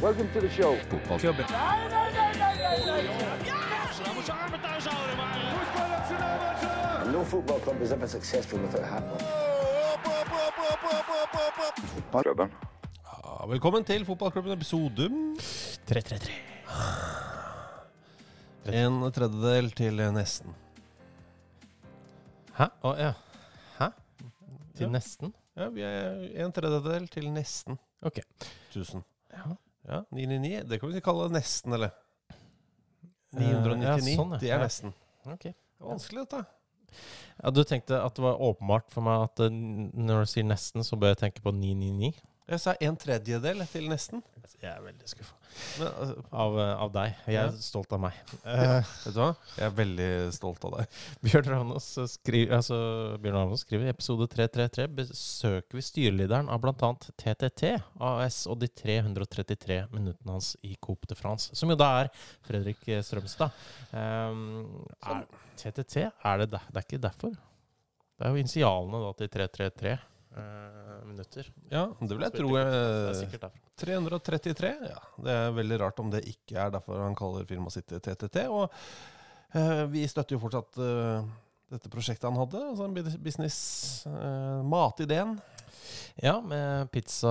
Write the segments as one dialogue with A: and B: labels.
A: Welcome to the show. No football club is ever successful without having one.
B: Ja, Velkommen til fotballklubben episode 333. En tredjedel til nesten.
C: Hæ? Å ja. Hæ? Til
B: Ja.
C: nesten?
B: Ja, vi er en tredjedel til nesten
C: Ok.
B: 1000.
C: Ja.
B: Ja, 999, det kan vi kalle nesten, eller?
C: Eh,
B: 999,
C: ja, sånn, ja.
B: det er
C: Ja.
B: nesten.
C: Ok.
B: Det er vanskelig, dette.
C: Ja, du tenkte at det var åpenbart for meg at eh, når du sier nesten, så bør jeg tenke på 999?
B: Jeg sa en tredjedel til nesten.
C: Jeg er veldig skuffa
B: Men, altså,
C: av, eh, av deg. Jeg
B: Ja.
C: er stolt av meg. Eh,
B: vet du hva? Jeg er veldig stolt av deg.
C: Bjørn Ravnås skriver, altså, Bjørn Ravnås skriver i episode 333 besøker vi styrelederen av bl.a. TTT AS og de 333 minuttene hans i Coop de France, som jo da er Fredrik eh, Strømstad. Ehm, er, TTT, er det, der, det er ikke derfor? Det er jo initialene da til 333 eh, minutter.
B: Ja, det vil jeg tro.
C: Det er
B: eh,
C: sikkert derfor.
B: 333, ja. Det er veldig rart om det ikke er derfor han kaller firmaet sitt TTT. Og eh, vi støtter jo fortsatt eh, dette prosjektet han hadde, altså en bus- business eh, Matideen,
C: Ja, med pizza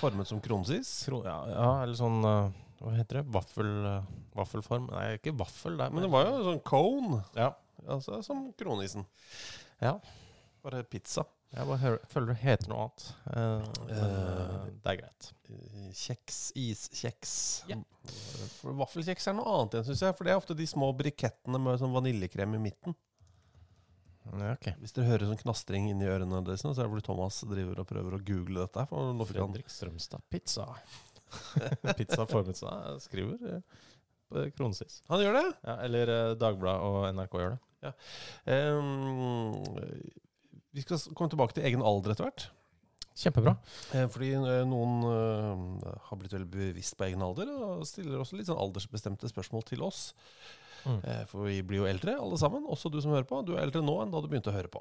B: formet som kronsis.
C: tro- ja, ja, eller sånn eh, hva heter det? Vaffel, eh, vaffelform? Nei, ikke vaffel. Det er
B: Men det var
C: mer-
B: jo en sånn cone,
C: ja.
B: altså som kronisen.
C: Ja.
B: Bare pizza.
C: Jeg bare hører, føler det heter noe annet. Eh,
B: Eh,
C: men det er greit.
B: Eh, Kjeks, iskjeks.
C: Ja.
B: For Vaffelkjeks er noe annet igjen, syns jeg. For det er ofte de små brikettene med sånn vaniljekrem i midten.
C: Ja, ok.
B: Hvis dere hører sånn knastring inni ørene deres, nå, så er det fordi Thomas driver og prøver å google dette. her, For nå fikk han
C: Fredrik Strømstad pizza. pizza formet seg, skriver eh, på Kronesis.
B: Han gjør det?
C: Ja, eller eh, Dagbladet og NRK gjør det.
B: Ehm, vi skal s- komme tilbake til egen alder etter hvert.
C: Kjempebra.
B: Eh, fordi eh, noen eh, har blitt veldig bevisst på egen alder, og stiller også litt sånn aldersbestemte spørsmål til oss.
C: Mm.
B: Eh, for vi blir jo eldre alle sammen, også du som hører på. Du er eldre nå enn da du begynte å høre på,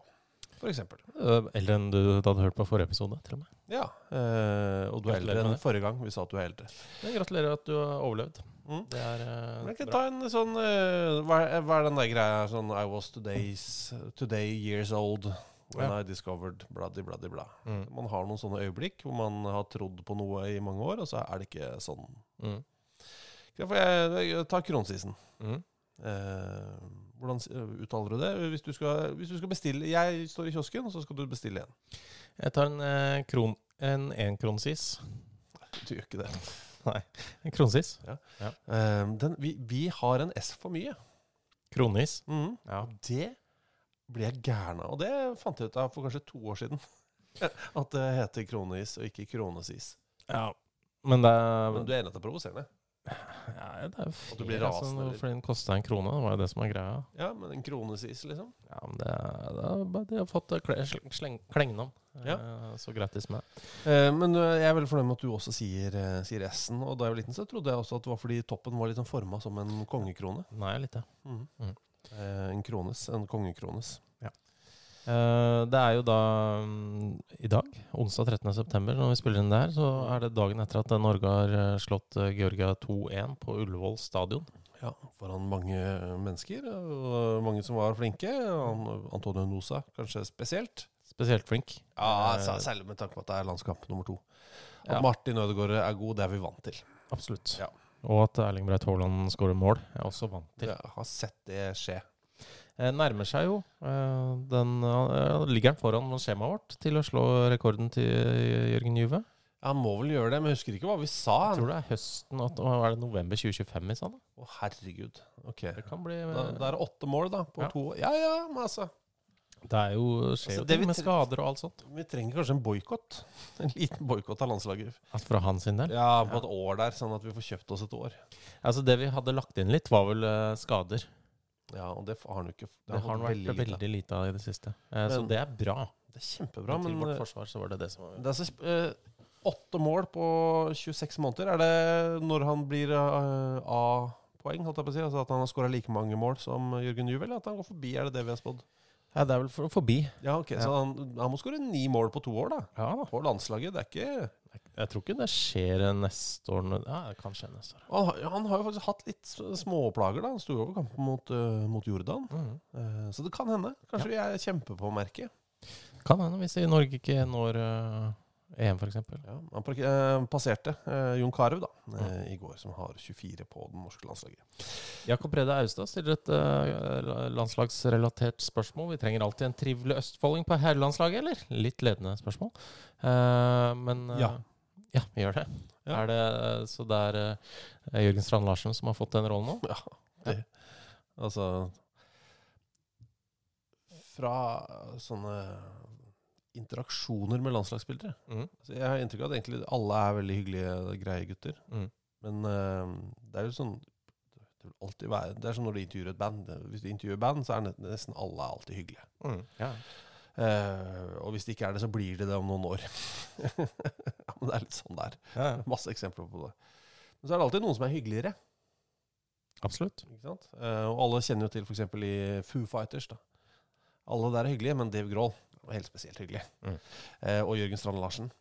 B: f.eks.
C: Eh, Eldre enn du da hadde hørt på forrige episode, til og med.
B: Ja, eh, og du er eldre
C: Gratulerer med
B: enn
C: det.
B: forrige gang vi sa at du er eldre.
C: Men gratulerer at du har overlevd.
B: Mm.
C: Det er eh,
B: Men jeg kan
C: bra.
B: ta en sånn eh, hva, er, hva er den der greia her, sånn I was today's, today years old when
C: Ja.
B: I discovered bladdy bladdy bla.
C: Mm.
B: Man har noen sånne øyeblikk hvor man har trodd på noe i mange år, og så er det ikke sånn.
C: Mm.
B: Ja, for jeg, jeg tar kronsisen.
C: Mm.
B: Eh, hvordan s- uttaler du det? Hvis du, skal, hvis du skal bestille Jeg står i kiosken, og så skal du bestille en.
C: Jeg tar en eh, kron... En enkronsis.
B: Du gjør ikke det.
C: En kronsis.
B: Eh, den, vi, vi har en S for mye.
C: Kronis.
B: Mhm.
C: Ja.
B: Og det ble jeg gæren av. Og det fant jeg ut av for kanskje to år siden. At det heter kroneis og ikke kronesis.
C: ja. Men det er
B: Men du er enig i at det er provoserende?
C: Ja, det er jo
B: At du blir
C: fair, altså,
B: rasende, eller?
C: Fordi den kosta en krone, det var jo det som var greia.
B: Ja, men en kronesis, liksom?
C: Ja, men det, er- det er bare de har fått eh, kle- sleng- sleng- klengen om.
B: Ja.
C: Eh, Så gratis med.
B: Eh, men eh, jeg er veldig fornøyd med at du også sier, eh, sier S-en. Og da jeg var liten, så trodde jeg også at det var fordi toppen var litt sånn forma som en kongekrone.
C: Nei, litt det.
B: Mhm.
C: Mhm.
B: Eh, en krones. En kongekrones.
C: Eh, Det er jo da mm, i dag, onsdag 13. september, når vi spiller inn det her, så er det dagen etter at eh, Norge har eh, slått eh, Georgia 2-1 på Ullevål stadion.
B: Ja, foran mange mennesker, og mange som var flinke. og Antonio Nosa kanskje spesielt.
C: Spesielt flink.
B: Ja,
C: Eh,
B: sa- Særlig med tanke på at det er landskamp nummer to. At
C: Ja.
B: Martin Ødegaard er god, det er vi vant til.
C: Absolutt.
B: Ja.
C: Og at Erling Braut Haaland skårer mål, er også vant til.
B: Jeg har sett det skje.
C: eh, nærmer seg jo eh, den eh, Ligger han foran skjemaet vårt til å slå rekorden til Jørgen Juve?
B: Han må vel gjøre det, men jeg husker ikke hva vi sa.
C: Jeg tror det er høsten at, å, Er det november 2025 vi sa, da?
B: Å, herregud. Ok.
C: Det kan bli
B: Da, da
C: eh,
B: er det åtte mål, da. På
C: Ja.
B: to Ja ja, men altså.
C: Det er jo skjer
B: Altså,
C: jo
B: det
C: ting
B: vi
C: med
B: tre-
C: skader og alt sånt.
B: Vi trenger kanskje en boikott. En liten boikott av landslaget.
C: At fra hans sin del.
B: Ja, på et år der, sånn at vi får kjøpt oss et år.
C: Altså, det vi hadde lagt inn litt, var vel eh, skader.
B: Ja, og det f- har han jo ikke
C: Det har han vært veldig,
B: lite av.
C: lite av i det siste. Eh, så
B: Men-
C: det er bra.
B: Det er kjempebra,
C: Til
B: men
C: vårt
B: eh,
C: forsvar så var det det som var
B: det er så sp- eh, åtte mål på 26 måneder. Er det når han blir eh, A-poeng, holdt jeg på å si? Altså at han har skåra like mange mål som Jørgen Juve, eller at han går forbi? Er det det vi har spådd?
C: ja, Det er vel for, forbi.
B: Ja, ok, Så han, han må skåre ni mål på to år, da.
C: Ja da.
B: På landslaget. Det er ikke
C: Jeg tror ikke det skjer neste år. nå- Ja, det kan skje neste år.
B: Han, har- han har jo faktisk hatt litt s- småplager, da. Han sto jo over kampen mot, eh, mot Jordan. Eh, så det kan hende. Kanskje vi er kjempepåmerket.
C: Kan hende, hvis Norge ikke når eh, EM, f.eks.
B: Ja, han park- eh, passerte eh, Jon Carew da, eh, i går, som har 24 på det norske landslaget.
C: Jakob Rede Austad stiller et eh, landslagsrelatert spørsmål. Vi trenger alltid en trivelig østfolding på herrelandslaget, eller? Litt ledende spørsmål. Eh, men eh,
B: Ja.
C: ja, vi gjør det.
B: Ja.
C: Er det eh, så det er eh, Jørgen Strand Larsen som har fått den rollen nå?
B: Ja, det, altså Fra sånne interaksjoner med landslagsspillere
C: Mm.
B: altså, Jeg har inntrykk av at egentlig alle er veldig hyggelige, greie gutter.
C: Mm.
B: Men eh, det er jo sånn det vil alltid være, Det er som når du intervjuer et band. eh, Hvis du intervjuer band, så er net- nesten alle er alltid hyggelige.
C: Ja.
B: Eh, og hvis det ikke er det, så blir det det om noen år. ja, men det er litt sånn det er. Masse eksempler på det. Men så er det alltid noen som er hyggeligere.
C: Absolutt.
B: Ikke sant? Eh, og alle kjenner jo til f.eks. i Foo Fighters. da. Alle der er hyggelige, men Dave Grohl var helt spesielt hyggelig.
C: Mm.
B: Eh, og Jørgen Strand Larsen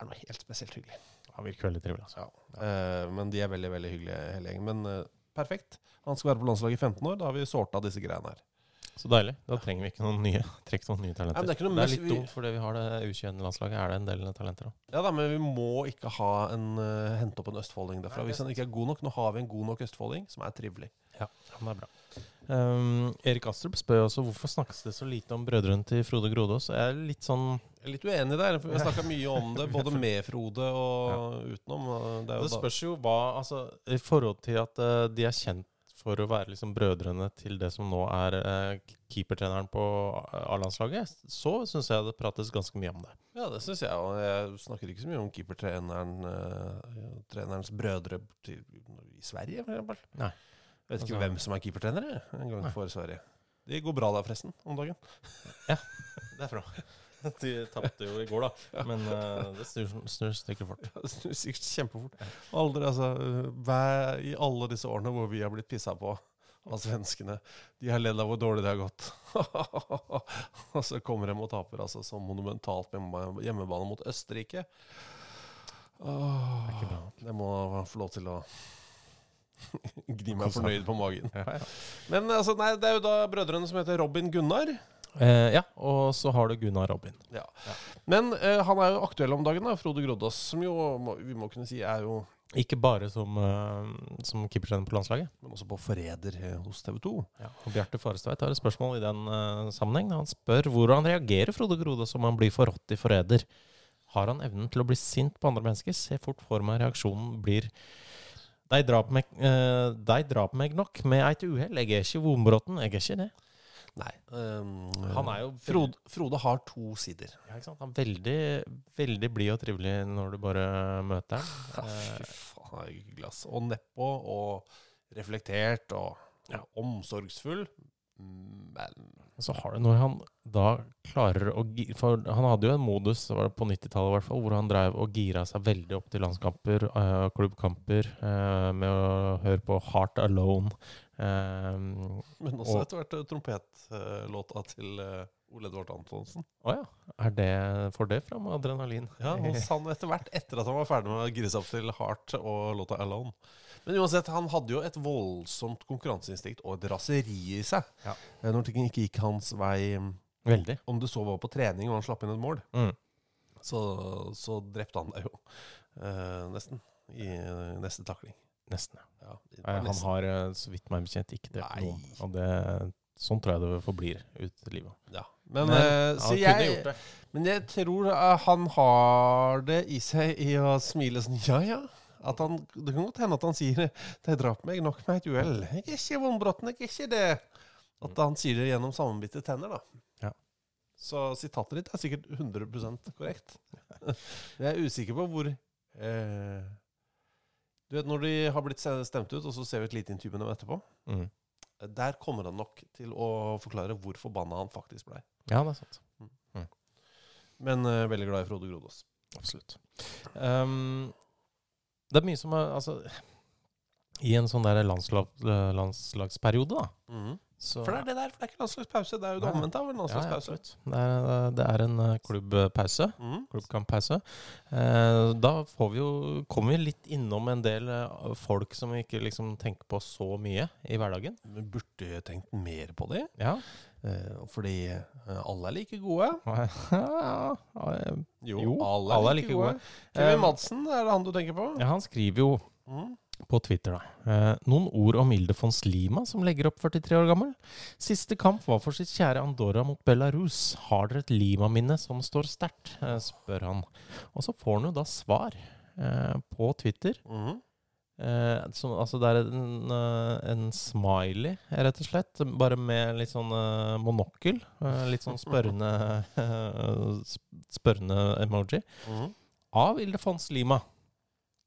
B: er noe helt spesielt hyggelig.
C: Han virker veldig trivelig. Altså.
B: Eh, men de er veldig veldig hyggelige hele gjengen. Men eh, perfekt. Han skal være på landslaget i 15 år. Da har vi sorta disse greiene her.
C: Så deilig. Da trenger vi ikke noen nye, trekker noen nye
B: Nei,
C: talenter.
B: men det er ikke noe mest-
C: litt
B: vi-
C: dumt, fordi vi har det U21-landslaget. Er det en del talenter da?
B: Ja da, Men vi må ikke ha en, eh, hente opp en østfolding derfra.
C: Nei, det
B: Hvis
C: er
B: han ikke er god nok, nå har vi en god nok østfolding som er trivelig.
C: Ja, det er bra. Um, Erik Astrup spør også hvorfor snakkes det så lite om brødrene til Frode Grodås. Jeg er litt sånn
B: Jeg er litt uenig der. for Vi har snakka mye om det, både med Frode og utenom. og Det er
C: Det
B: jo da,
C: spørs jo hva altså, I forhold til at eh, de er kjent for å være liksom brødrene til det som nå er eh, keepertreneren på A-landslaget, så syns jeg det prates ganske mye om det.
B: ja, det syns jeg. Og jeg snakker ikke så mye om keepertreneren eh, trenerens brødre til, i Sverige, for eksempel.
C: Nei.
B: Jeg vet ikke
C: Altså-
B: hvem som er keepertrenere en gang
C: Nei.
B: for Sverige. Det går bra der, forresten, om dagen.
C: Det er bra. De tapte jo i går, da. Men eh, det snur, snur stikker fort.
B: Det snur sikkert kjempefort. Aldri, altså, hver, I alle disse årene hvor vi har blitt pissa på av svenskene De har ledd av hvor dårlig det har gått. og så kommer de og taper altså, så monumentalt på hjemme- hjemmebane mot Østerrike. Åh,
C: ikke bra nok.
B: jeg må få lov til å gni meg fornøyd på magen. Men altså, nei, det er jo da brødrene som heter Robin Gunnar.
C: Eh, ja, og så har du Gunnar Robin.
B: Ja. Men eh, han er jo aktuell om dagen, da, Frode Grodås, som jo må, vi må kunne si er jo
C: Ikke bare som, eh, som keepertrener på landslaget.
B: men også på forræder eh, hos TV 2.
C: Og Bjarte Farestveit har et spørsmål i den eh, sammenheng. Han spør hvordan reagerer Frode Grodås om han blir forrådt i forræder. Har han evnen til å bli sint på andre mennesker? Se fort for meg reaksjonen blir De drap meg, eh, de drap meg nok med eit uhell. Jeg er ikke vombråten. Jeg er ikke det.
B: Nei. ehm,
C: Han er jo
B: Frode, Frode har to sider.
C: Ja, ikke sant? Han er veldig, veldig blid og trivelig når du bare møter ham.
B: Ah,
C: Eh,
B: Fy faen, han er hyggelig, ass. Eh, Og nedpå og reflektert og ja, omsorgsfull. Men
C: Så har du når han da klarer å gi- For han hadde jo en modus det var på 90-tallet i hvert fall, hvor han drev og gira seg veldig opp til landskamper, eh, klubbkamper, eh, med å høre på Heart Alone. Eh,
B: Men også
C: Og-
B: etter hvert eh, trompetlåta til eh, Ole Edvard Antonsen.
C: Å ja. Er det for det fram adrenalin?
B: Ja, Han sa han etter hvert, etter at han var ferdig med å gire seg opp til Heart og låta 'Alone'. Men uansett, han hadde jo et voldsomt konkurranseinstinkt og et raseri i seg
C: Ja.
B: eh, når ting ikke gikk hans vei.
C: Veldig.
B: Om det så var på trening og han slapp inn et mål,
C: Mm.
B: så, så drepte han deg jo. eh, nesten. I eh, neste takling.
C: Nesten. ja.
B: Ja, det
C: Eh,
B: var
C: Han
B: nesten.
C: har, eh, så vidt meg bekjent, ikke drept
B: Nei.
C: noen. Og det Sånn tror jeg det forblir ut livet.
B: Ja. Men,
C: Men,
B: eh, så
C: han kunne gjort
B: jeg,
C: det.
B: men jeg tror eh, han har det i seg i å smile sånn ja, ja. At han, det kan godt hende at han sier de drap meg nok med et uhell. Jeg er ikke vondbrotten, jeg er ikke det. At han sier det gjennom sammenbitte tenner, da.
C: Ja.
B: Så sitatet ditt er sikkert 100 korrekt. Jeg er usikker på hvor eh, Du vet når de har blitt stemt ut, og så ser vi et lite intervju med dem etterpå. eh,
C: Mm.
B: Der kommer han nok til å forklare hvor forbanna han faktisk blei.
C: Ja, det er sant.
B: Men eh, veldig glad i Frode Grodås.
C: Absolutt. Ehm, det er mye som er Altså, i en sånn der landslag, landslagsperiode, da
B: Mhm.
C: så,
B: For det er det der, for det er ikke landslagspause. Det er jo det
C: Nei.
B: omvendte av en
C: Ja, ja,
B: landslagspause.
C: absolutt. Det er, det er en eh, klubbpause.
B: Mhm.
C: Klubbkamppause. Eh, da får vi jo, kommer vi litt innom en del eh, folk som vi ikke liksom tenker på så mye i hverdagen.
B: Men Burde jeg tenkt mer på det?
C: Ja.
B: Eh, fordi eh, alle er like gode.
C: Jo, alle er like gode.
B: Kevin
C: Eh,
B: Madsen, er det han du tenker på?
C: Ja, han skriver jo
B: Mhm.
C: på Twitter, da. Eh, noen ord om Ildefons Lima, som legger opp 43 år gammel. Siste kamp var for sitt kjære Andorra mot Belarus. Har dere et Lima-minne som står sterkt? Eh, spør han. Og så får han jo da svar eh, på Twitter.
B: Mhm.
C: Eh, som, altså det er en, eh, en smiley, rett og slett, bare med litt sånn eh, monokkel. Eh, litt sånn spørrende, eh, sp- spørrende emoji
B: Mhm.
C: av Ildefons Lima.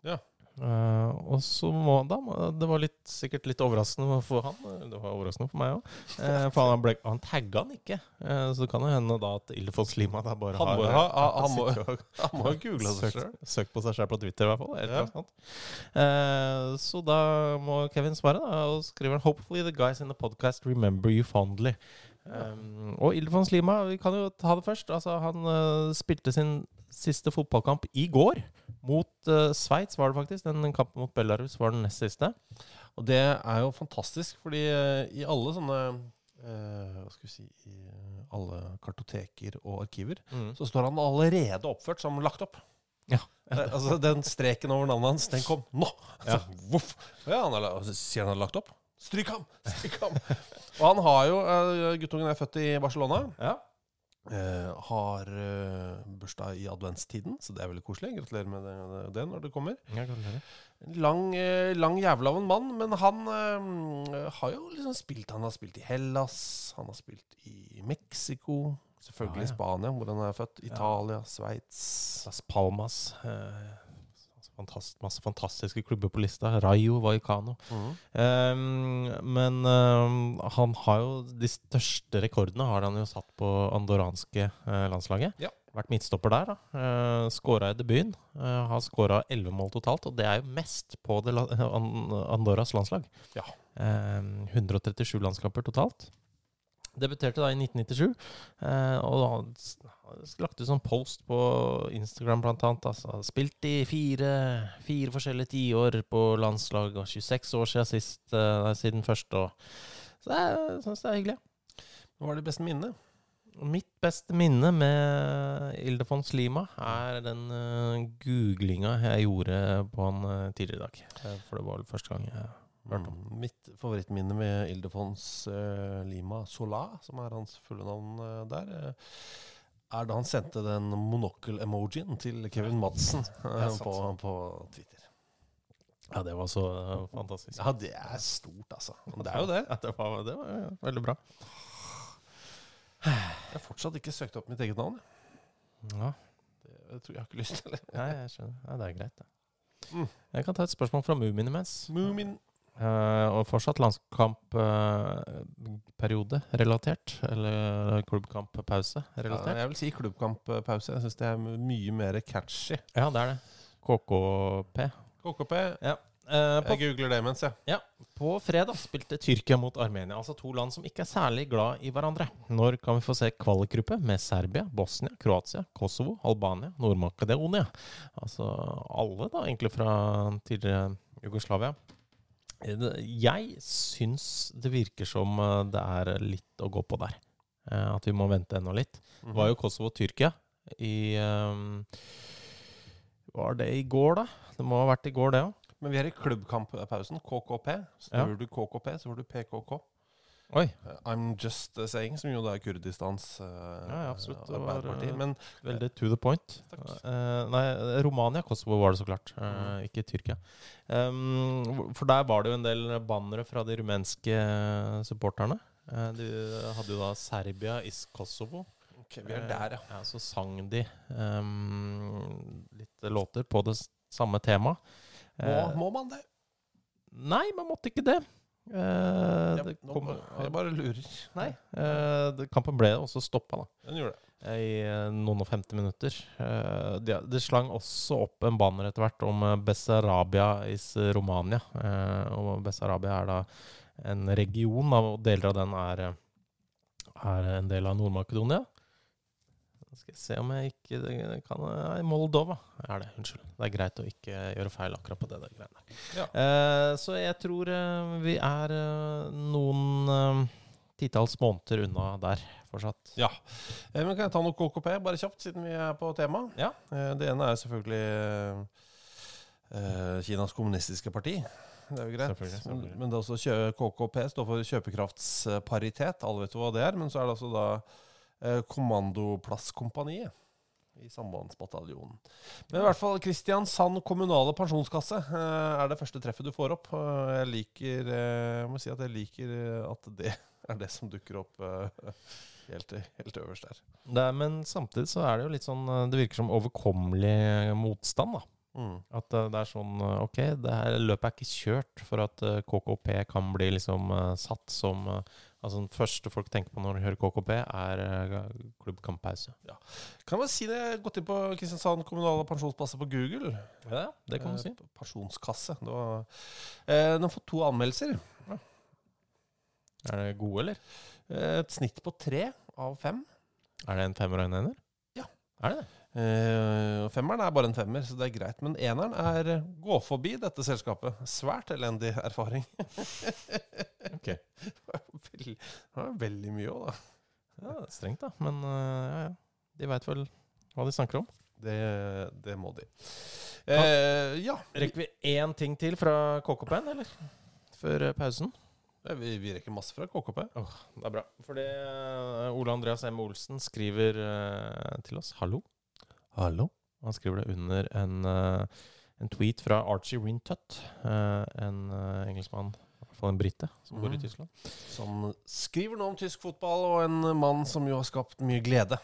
B: Ja.
C: Eh, og så må han da må- Det var litt, sikkert litt overraskende for han. eh, Det var overraskende for meg òg. for han, ble, han tagga han ikke. Eh, så det kan jo hende da at Ildefons Lima da bare
B: Han må
C: har eh,
B: jo ha- han må-
C: sitter og-
B: Han må jo google seg
C: søkt,
B: sjøl.
C: søkt på seg selv på Twitter, i hvert fall. eller
B: Ja.
C: noe sånt. Eh, så da må Kevin svare, da, og skriver han Hopefully the guys in the podcast remember you fondly. Um, og Ildefons Lima, vi kan jo ta det først. Altså, han eh, spilte sin siste fotballkamp i går. Mot uh, Sveits, var det faktisk. Den kampen mot Belarus var den nest siste.
B: Og det er jo fantastisk, fordi eh, i alle sånne eh, Hva skal vi si I eh, alle kartoteker og arkiver
C: Mm.
B: så står han allerede oppført som lagt opp.
C: Ja.
B: Det, altså, den streken over navnet hans, den kom nå! Ja, voff. ja han har, la- og så Sier han har lagt opp? Stryk ham! Stryk ham! og han har jo eh, Guttungen er født i Barcelona.
C: Ja.
B: eh, har eh, bursdag i adventstiden, så det er veldig koselig. Gratulerer med det, det når det kommer. En Lang, eh, lang jævla av en mann, men han eh, har jo liksom spilt Han har spilt i Hellas, han har spilt i Mexico, selvfølgelig
C: Ja, ja.
B: Spania, hvor han er født, Italia, Sveits
C: Las Palmas. eh, altså fantast, masse fantastiske klubber på lista. Rayo Vallecano. Um, men um, han har jo de største rekordene har han jo satt på andoranske eh, landslaget.
B: Ja.
C: Vært midtstopper der. da. Uh, skåra i debuten. eh, har skåra elleve mål totalt, og det er jo mest på det, la- an, Andorras landslag.
B: Ja.
C: Um, 137 landskamper totalt. Debuterte da i 1997, eh, og han s- lagt ut sånn post på Instagram blant annet. Altså, spilt i fire, fire forskjellige tiår på landslag, og 26 år siden sist, eh, nei, siden først. Og, så jeg syns det er hyggelig.
B: Hva er det beste minnet?
C: Mitt beste minne med Ildefons Lima er den uh, googlinga jeg gjorde på han eh, tidligere i dag. Eh, For det var vel første gang jeg hørte om
B: Mm. Mitt favorittminne med Ildefons eh, Lima Sola, som er hans fulle navn eh, der, eh, er da han sendte den monokkel-emojien til Kevin Madsen eh,
C: sant.
B: på, på Twitter.
C: Ja, det var så eh, fantastisk.
B: Ja, det er stort, altså. Men det er jo det.
C: Ja, det var, det var ja, veldig bra.
B: Jeg har fortsatt ikke søkt opp mitt eget navn.
C: Ja.
B: Jeg tror jeg har ikke lyst til det.
C: Nei, jeg skjønner. Ja, det er greit, det.
B: Mm.
C: Jeg kan ta et spørsmål fra Mumin imens.
B: Moomin.
C: Eh, og fortsatt landskampperiode eh, relatert, eller klubbkamppause relatert.
B: jeg vil si klubbkamppause. Jeg syns det er mye mer catchy.
C: Ja, det er det. KKP.
B: KKP.
C: Eh, på,
B: Jeg googler det mens, jeg.
C: på fredag spilte Tyrkia mot Armenia, altså to land som ikke er særlig glad i hverandre. Når kan vi få se kvalikgruppe med Serbia, Bosnia, Kroatia, Kosovo, Albania, Nord-Makedonia? Altså alle, da, egentlig fra tidligere Jugoslavia. Eh, det- Jeg syns det virker som eh, det er litt å gå på der. Eh, At vi må vente ennå litt. Det var jo Kosovo og Tyrkia i eh, Var det i går, da? Det må ha vært i
B: Mhm.
C: går, det òg.
B: Men vi er i klubbkamppausen. KKP. Snur du KKP, så får du PKK.
C: Oi.
B: Eh, I'm Just Saying, som jo da er Kurdistans eh,
C: ja, absolutt. Det var,
B: arbeiderparti.
C: eh,
B: Men
C: Veldig to the point.
B: Takk.
C: Eh, nei, Romania, Kosovo var det så klart,
B: Mm.
C: eh, ikke Tyrkia. Um, hvor- for der var det jo en del bannere fra de rumenske supporterne. Eh, de hadde jo da Serbia is Kosovo.
B: ok, vi er der, ja.
C: Eh, så sang de um, litt låter på det s- samme temaet.
B: Må,
C: Eh,
B: må man det?
C: Nei, man måtte ikke det. Eh,
B: Jeg,
C: det
B: nå,
C: kom,
B: bare- jeg bare lurer.
C: nei, eh, det- kampen ble også stoppa, da
B: Den gjorde det.
C: i eh, noen og 50 minutter. Eh, Det det slang også opp en banner etter hvert om eh, Bessarabia is Romania. Eh, Og Bessarabia er da en region, da, og deler av den er, eh, er en del av Nord-Makedonia. Nå Skal jeg se om jeg ikke det kan Nei, Moldova er det. Unnskyld. Det er greit å ikke gjøre feil akkurat på det der greiene der.
B: Ja.
C: Eh, Så jeg tror eh, vi er eh, noen eh, titalls måneder unna der fortsatt.
B: Ja. Eh, Men kan jeg ta noe KKP, bare kjapt, siden vi er på tema?
C: Ja.
B: Eh, Det ene er selvfølgelig eh, Kinas kommunistiske parti. Det er jo greit.
C: Selvfølgelig, selvfølgelig.
B: Men det er også kjø- KKP står for kjøpekraftsparitet. Alle vet jo hva det er. Men så er det altså da eh, Kommandoplasskompaniet i Sambandsbataljonen. Men i hvert fall Kristiansand kommunale pensjonskasse eh, er det første treffet du får opp. Og Jeg liker eh, Jeg må si at jeg liker eh, at det er det som dukker opp eh, helt, helt øverst der.
C: Det er, men samtidig så er det jo litt sånn eh, Det virker som overkommelig motstand, da.
B: Mm.
C: At eh, det er sånn eh, Ok, det her løpet er ikke kjørt for at eh, KKP kan bli liksom eh, satt som eh, Altså, den første folk tenker på når de hører KKP, er eh, klubbkamppause.
B: Kan man si det? Jeg har gått inn på Kristiansand kommunale pensjonskasse på Google.
C: Ja, det kan du si.
B: Eh, Pensjonskasse. Det var, eh, den har fått to anmeldelser.
C: Er det gode, eller?
B: Eh, et snitt på tre av fem.
C: Er det en femmer og en ener?
B: Ja.
C: Er det det?
B: Eh, og femmeren er bare en femmer, så det er greit. Men eneren er eh, 'gå forbi dette selskapet'. Svært elendig erfaring.
C: Ok.
B: Veldig, det er veldig mye òg, da.
C: Ja, det er strengt, da. Men eh, ja, ja. De veit vel hva de snakker om.
B: Det, det må de. Eh, ja,
C: Rekker vi én ting til fra KKP-en, eller? Før eh, pausen?
B: vi, vi rekker masse fra KKP.
C: Det er bra. Fordi eh, Ole Andreas M. Olsen skriver eh, til oss 'hallo'. Hallo? Han skriver det under en, eh, en tweet fra Archie Rintutt, eh, en eh, engelskmann, i hvert fall en brite, som bor i
B: Mhm.
C: Tyskland.
B: Som skriver nå om tysk fotball, og en mann som jo har skapt mye glede.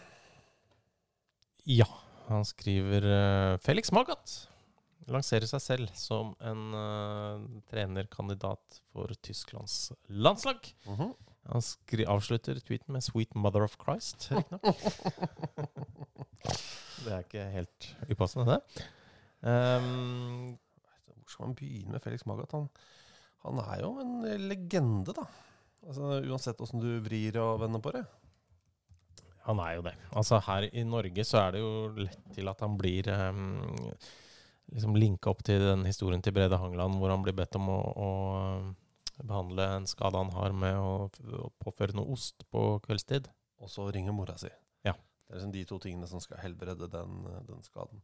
C: Ja. Han skriver eh, 'Felix Magath lanserer seg selv som en eh, trenerkandidat for Tysklands landslag'.
B: Mhm.
C: Han skri avslutter tweeten med 'Sweet Mother of Christ', riktignok. det er ikke helt upassende, det. Ehm,
B: Hvor skal man begynne med Felix Magath? Han, han er jo en legende, da. Altså, uansett åssen du vrir og vender på det.
C: han er jo det. Altså Her i Norge så er det jo lett til at han blir ehm, liksom linka opp til den historien til Brede Hangeland, hvor han blir bedt om å, å eh, behandle en skade han har, med å, å påføre noe ost på kveldstid.
B: Og så ringer mora si.
C: Ja.
B: Det er liksom de to tingene som skal helbrede den, den skaden.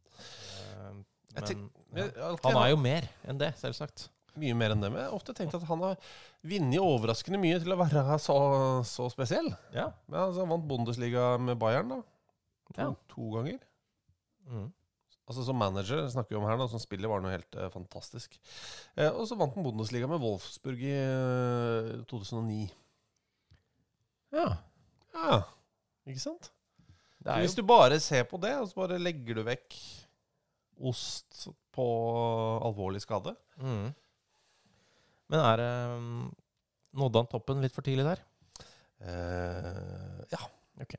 C: Ehm,
B: Jeg
C: men
B: Men
C: ja.
B: jeg har alltid
C: han er jo mer enn det, selvsagt.
B: hatt mye mer enn det. Men jeg har ofte tenkt at han har vunnet overraskende mye til å være så, så spesiell.
C: Ja.
B: Men altså, han vant Bundesliga med Bayern da. To,
C: Ja.
B: to ganger.
C: Mm.
B: Altså Som manager snakker vi om her nå, som spiller var det noe helt eh, fantastisk. Eh, og så vant han Bundesliga med Wolfsburg i eh, 2009.
C: ja.
B: Ja, ikke sant?
C: Det er
B: Hvis
C: jo
B: du bare ser på det, og så bare legger du vekk ost på alvorlig skade
C: Mm. Men er det um, Nådde han toppen litt for tidlig der?
B: eh, Ja.
C: Ok.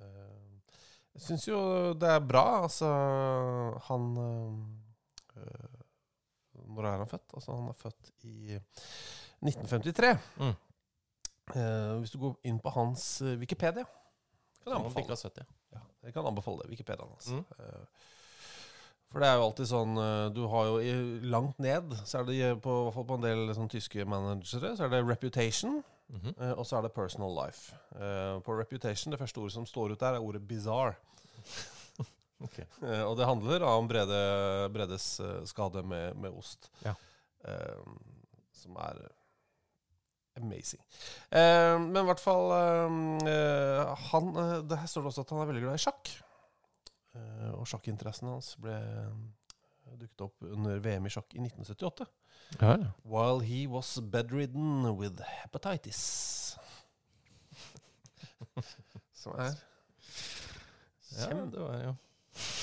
B: Eh, jeg syns jo det er bra. Altså, han eh, eh, Når er han født? Altså, han er født i 1953.
C: Mm.
B: Eh, hvis du går inn på hans eh, Wikipedia kan jeg
C: Han
B: anbefale.
C: fikk av 70.
B: Jeg kan anbefale det. Wikipediaen hans.
C: Mm.
B: Eh, For det er jo alltid sånn eh, Du har jo i- langt ned, så er det eh, på, i hvert fall på en del sånn, tyske managere, så er det reputation,
C: Mhm.
B: eh, og så er det personal life. Eh, På reputation, det første ordet som står ut der, er ordet bizarre.
C: Ok.
B: Eh, Og det handler om Brede, Bredes eh, skade med, med ost.
C: Ja.
B: Eh, Som er Amazing. Eh, men i hvert fall eh, eh, han, eh, Det her står det også at han er veldig glad i sjakk. Eh, og sjakkinteressen hans ble eh, dukket opp under VM i sjakk i 1978.
C: Ja, ja.
B: While he was bedridden with hepatitis. Som er
C: ja
B: Kjempe-
C: det var jo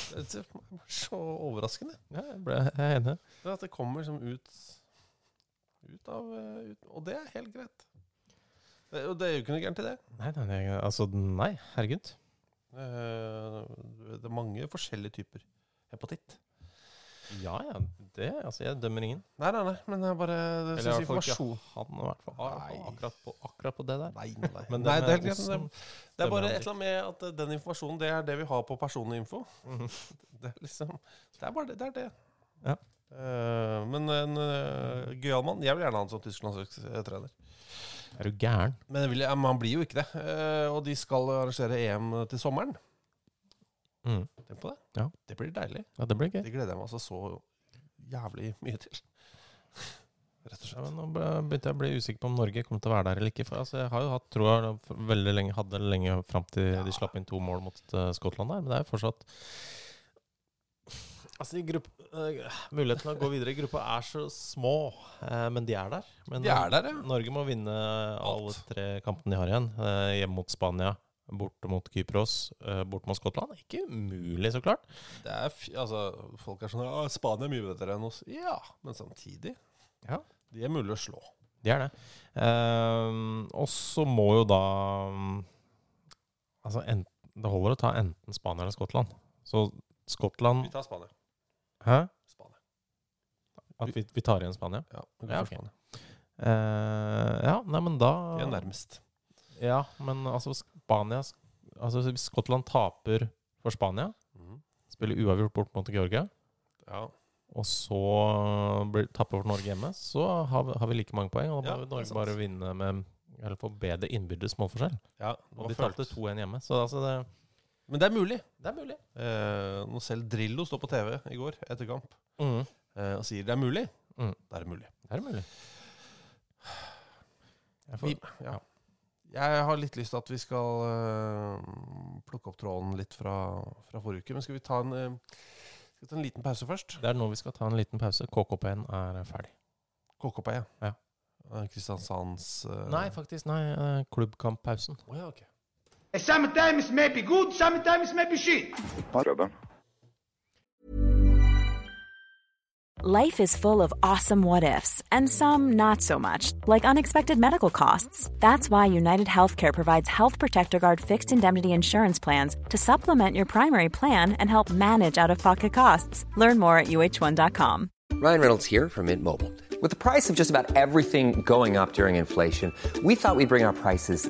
B: Det er så overraskende.
C: Ja, jeg ble jeg er enig.
B: Det er at det kommer som ut, ut av eh, ut, Og det er helt greit. Det, og det er jo ikke noe gærent i det.
C: Nei, nei, nei, altså, nei, herregud.
B: Eh, Det er mange forskjellige typer hepatitt.
C: Ja, ja, det, altså, jeg dømmer ingen.
B: Nei, nei, nei, men jeg bare det
C: Eller i
B: synes
C: hvert fall ikke
B: informasjon.
C: han, i hvert fall.
B: Nei.
C: Akkurat på, akkurat på det der.
B: Nei, nei, nei.
C: Men
B: nei
C: det
B: det, er
C: med
B: helt greit, men det,
C: osten-
B: det er
C: stemmer
B: bare
C: han
B: et eller annet med at eh, den informasjonen, det er det vi har på personinfo. Det er liksom Det er bare det. det, er det.
C: Ja.
B: Eh, men en uh, gøyal mann. Jeg vil gjerne ha sånn han som Tysklandstrener.
C: Er du gæren?
B: Men det vil, jeg- men han blir jo ikke det. Eh, og de skal arrangere EM til sommeren.
C: Mm.
B: Tenk på det.
C: Ja.
B: Det blir deilig.
C: Ja, det blir gøy.
B: Det gleder jeg meg altså så jævlig mye til. Rett og
C: Ja,
B: slett.
C: men nå be- begynte jeg å bli usikker på om Norge kommer til å være der eller ikke. For altså, jeg har jo hatt troa for- veldig lenge, hadde det lenge fram til de slapp inn to mål mot eh, Skottland der, men det er jo fortsatt Altså, i grupp, eh, Mulighetene å gå videre i gruppa er så små, eh, men de er der. Men eh,
B: De er der, ja.
C: Norge må vinne alle
B: Alt.
C: tre kampene de har igjen. Eh, Hjemme mot Spania, borte mot Kypros, eh, borte mot Skottland. Ikke umulig, så klart.
B: Det er, f- altså, folk er sånn «Å, Spania er mye bedre enn oss. Ja, men samtidig
C: Ja.
B: De er mulig å slå.
C: De er det. Ehm, og så må jo da mm, Altså, enten, det holder å ta enten Spania eller Skottland. Så Skottland
B: Vi tar Spania.
C: Hæ?
B: Spania.
C: At vi, vi tar igjen Spania?
B: Ja, vi går
C: Ja,
B: for
C: ok. Ah.
B: Spania.
C: Eh, ja, nei, men da
B: Vi er nærmest.
C: Ja, men altså Spania Altså Hvis Skottland taper for Spania,
B: Mhm.
C: spiller uavgjort bort mot Georgia,
B: Ja.
C: og så blir, tapper for Norge hjemme, så har vi, har vi like mange poeng. Og da
B: Ja,
C: må
B: det er
C: Norge
B: sant.
C: bare vinne med Eller få bedre innbyrdes målforskjell.
B: ja det var
C: Og de
B: følt.
C: tapte 2-1 hjemme. Så altså det,
B: Men det er mulig.
C: det er mulig.
B: Eh, når selv Drillo står på TV i går etter kamp eh, og sier det er mulig,
C: Mm.
B: da er det mulig.
C: Det er mulig. Jeg får,
B: Vi, ja. Jeg har litt lyst til at vi skal eh, plukke opp tråden litt fra, fra forrige uke. Men skal vi ta en, eh, skal vi ta en liten pause først?
C: det er nå vi skal ta en liten pause. KKP-en er ferdig.
B: KKP, ja.
C: Ja.
B: Eh, Kristiansands eh,
C: Nei, faktisk. Nei, eh, klubbkamppausen.
B: Å ja, ok.
D: Sometimes may be good, sometimes may be shit.
E: Life is full of awesome what ifs, and some not so much, like unexpected medical costs. That's why United Healthcare provides Health Protector Guard fixed indemnity insurance plans to supplement your primary plan and help manage out of pocket costs. Learn more at uh1.com.
F: Ryan Reynolds here from Mint Mobile. With the price of just about everything going up during inflation, we thought we'd bring our prices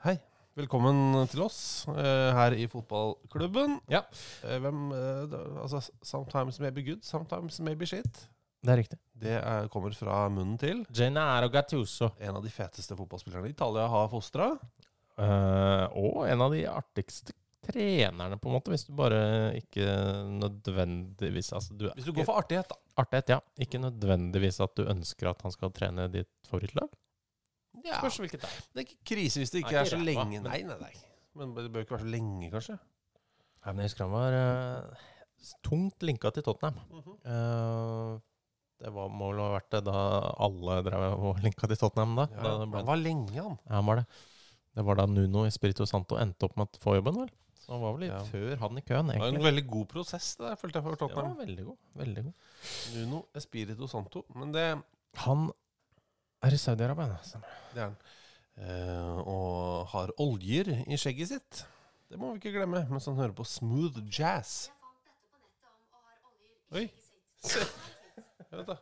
B: Hei. Velkommen til oss eh, her i fotballklubben.
C: Ja.
B: Eh, hvem eh, da- Altså, sometimes may be good, sometimes may be shit.
C: Det er riktig.
B: Det er, kommer fra munnen til
C: Gennaro Gattuso.
B: en av de feteste fotballspillerne Italia har fostra.
C: Eh, og en av de artigste trenerne, på en måte, hvis du bare ikke nødvendigvis altså, du,
B: Hvis du går for artighet, da.
C: Artighet, ja. Ikke nødvendigvis at du ønsker at han skal trene ditt favorittlag.
B: Ja,
C: Spørs hvilket det er.
B: det er ikke krise hvis det ikke
C: Nei,
B: er så
C: ikke ræva,
B: lenge.
C: men-
B: Nei, nei, nei. Men det bør ikke være så lenge, kanskje.
C: Nei, men jeg husker han var eh, tungt linka til Tottenham.
B: Mhm.
C: Eh, det var, må vel ha vært det da alle drev og linka til Tottenham da.
B: Ja,
C: da det
B: han
C: ble,
B: var lenge, han.
C: ja, han var det. Det var da Nuno Espirito Santo endte opp med å få jobben, vel. Så han var vel litt
B: Ja.
C: før han i køen,
B: Det var en
C: egentlig.
B: veldig god prosess, det der, følte jeg for
C: Ja,
B: Tottenham.
C: veldig god. Veldig god.
B: Nuno Espirito Santo. Men det,
C: Han er i Saudi-Arabia, altså.
B: det er han. Eh, og har oljer i skjegget sitt. Det må vi ikke glemme mens han hører på smooth jazz. Oi. Se. Vent, da.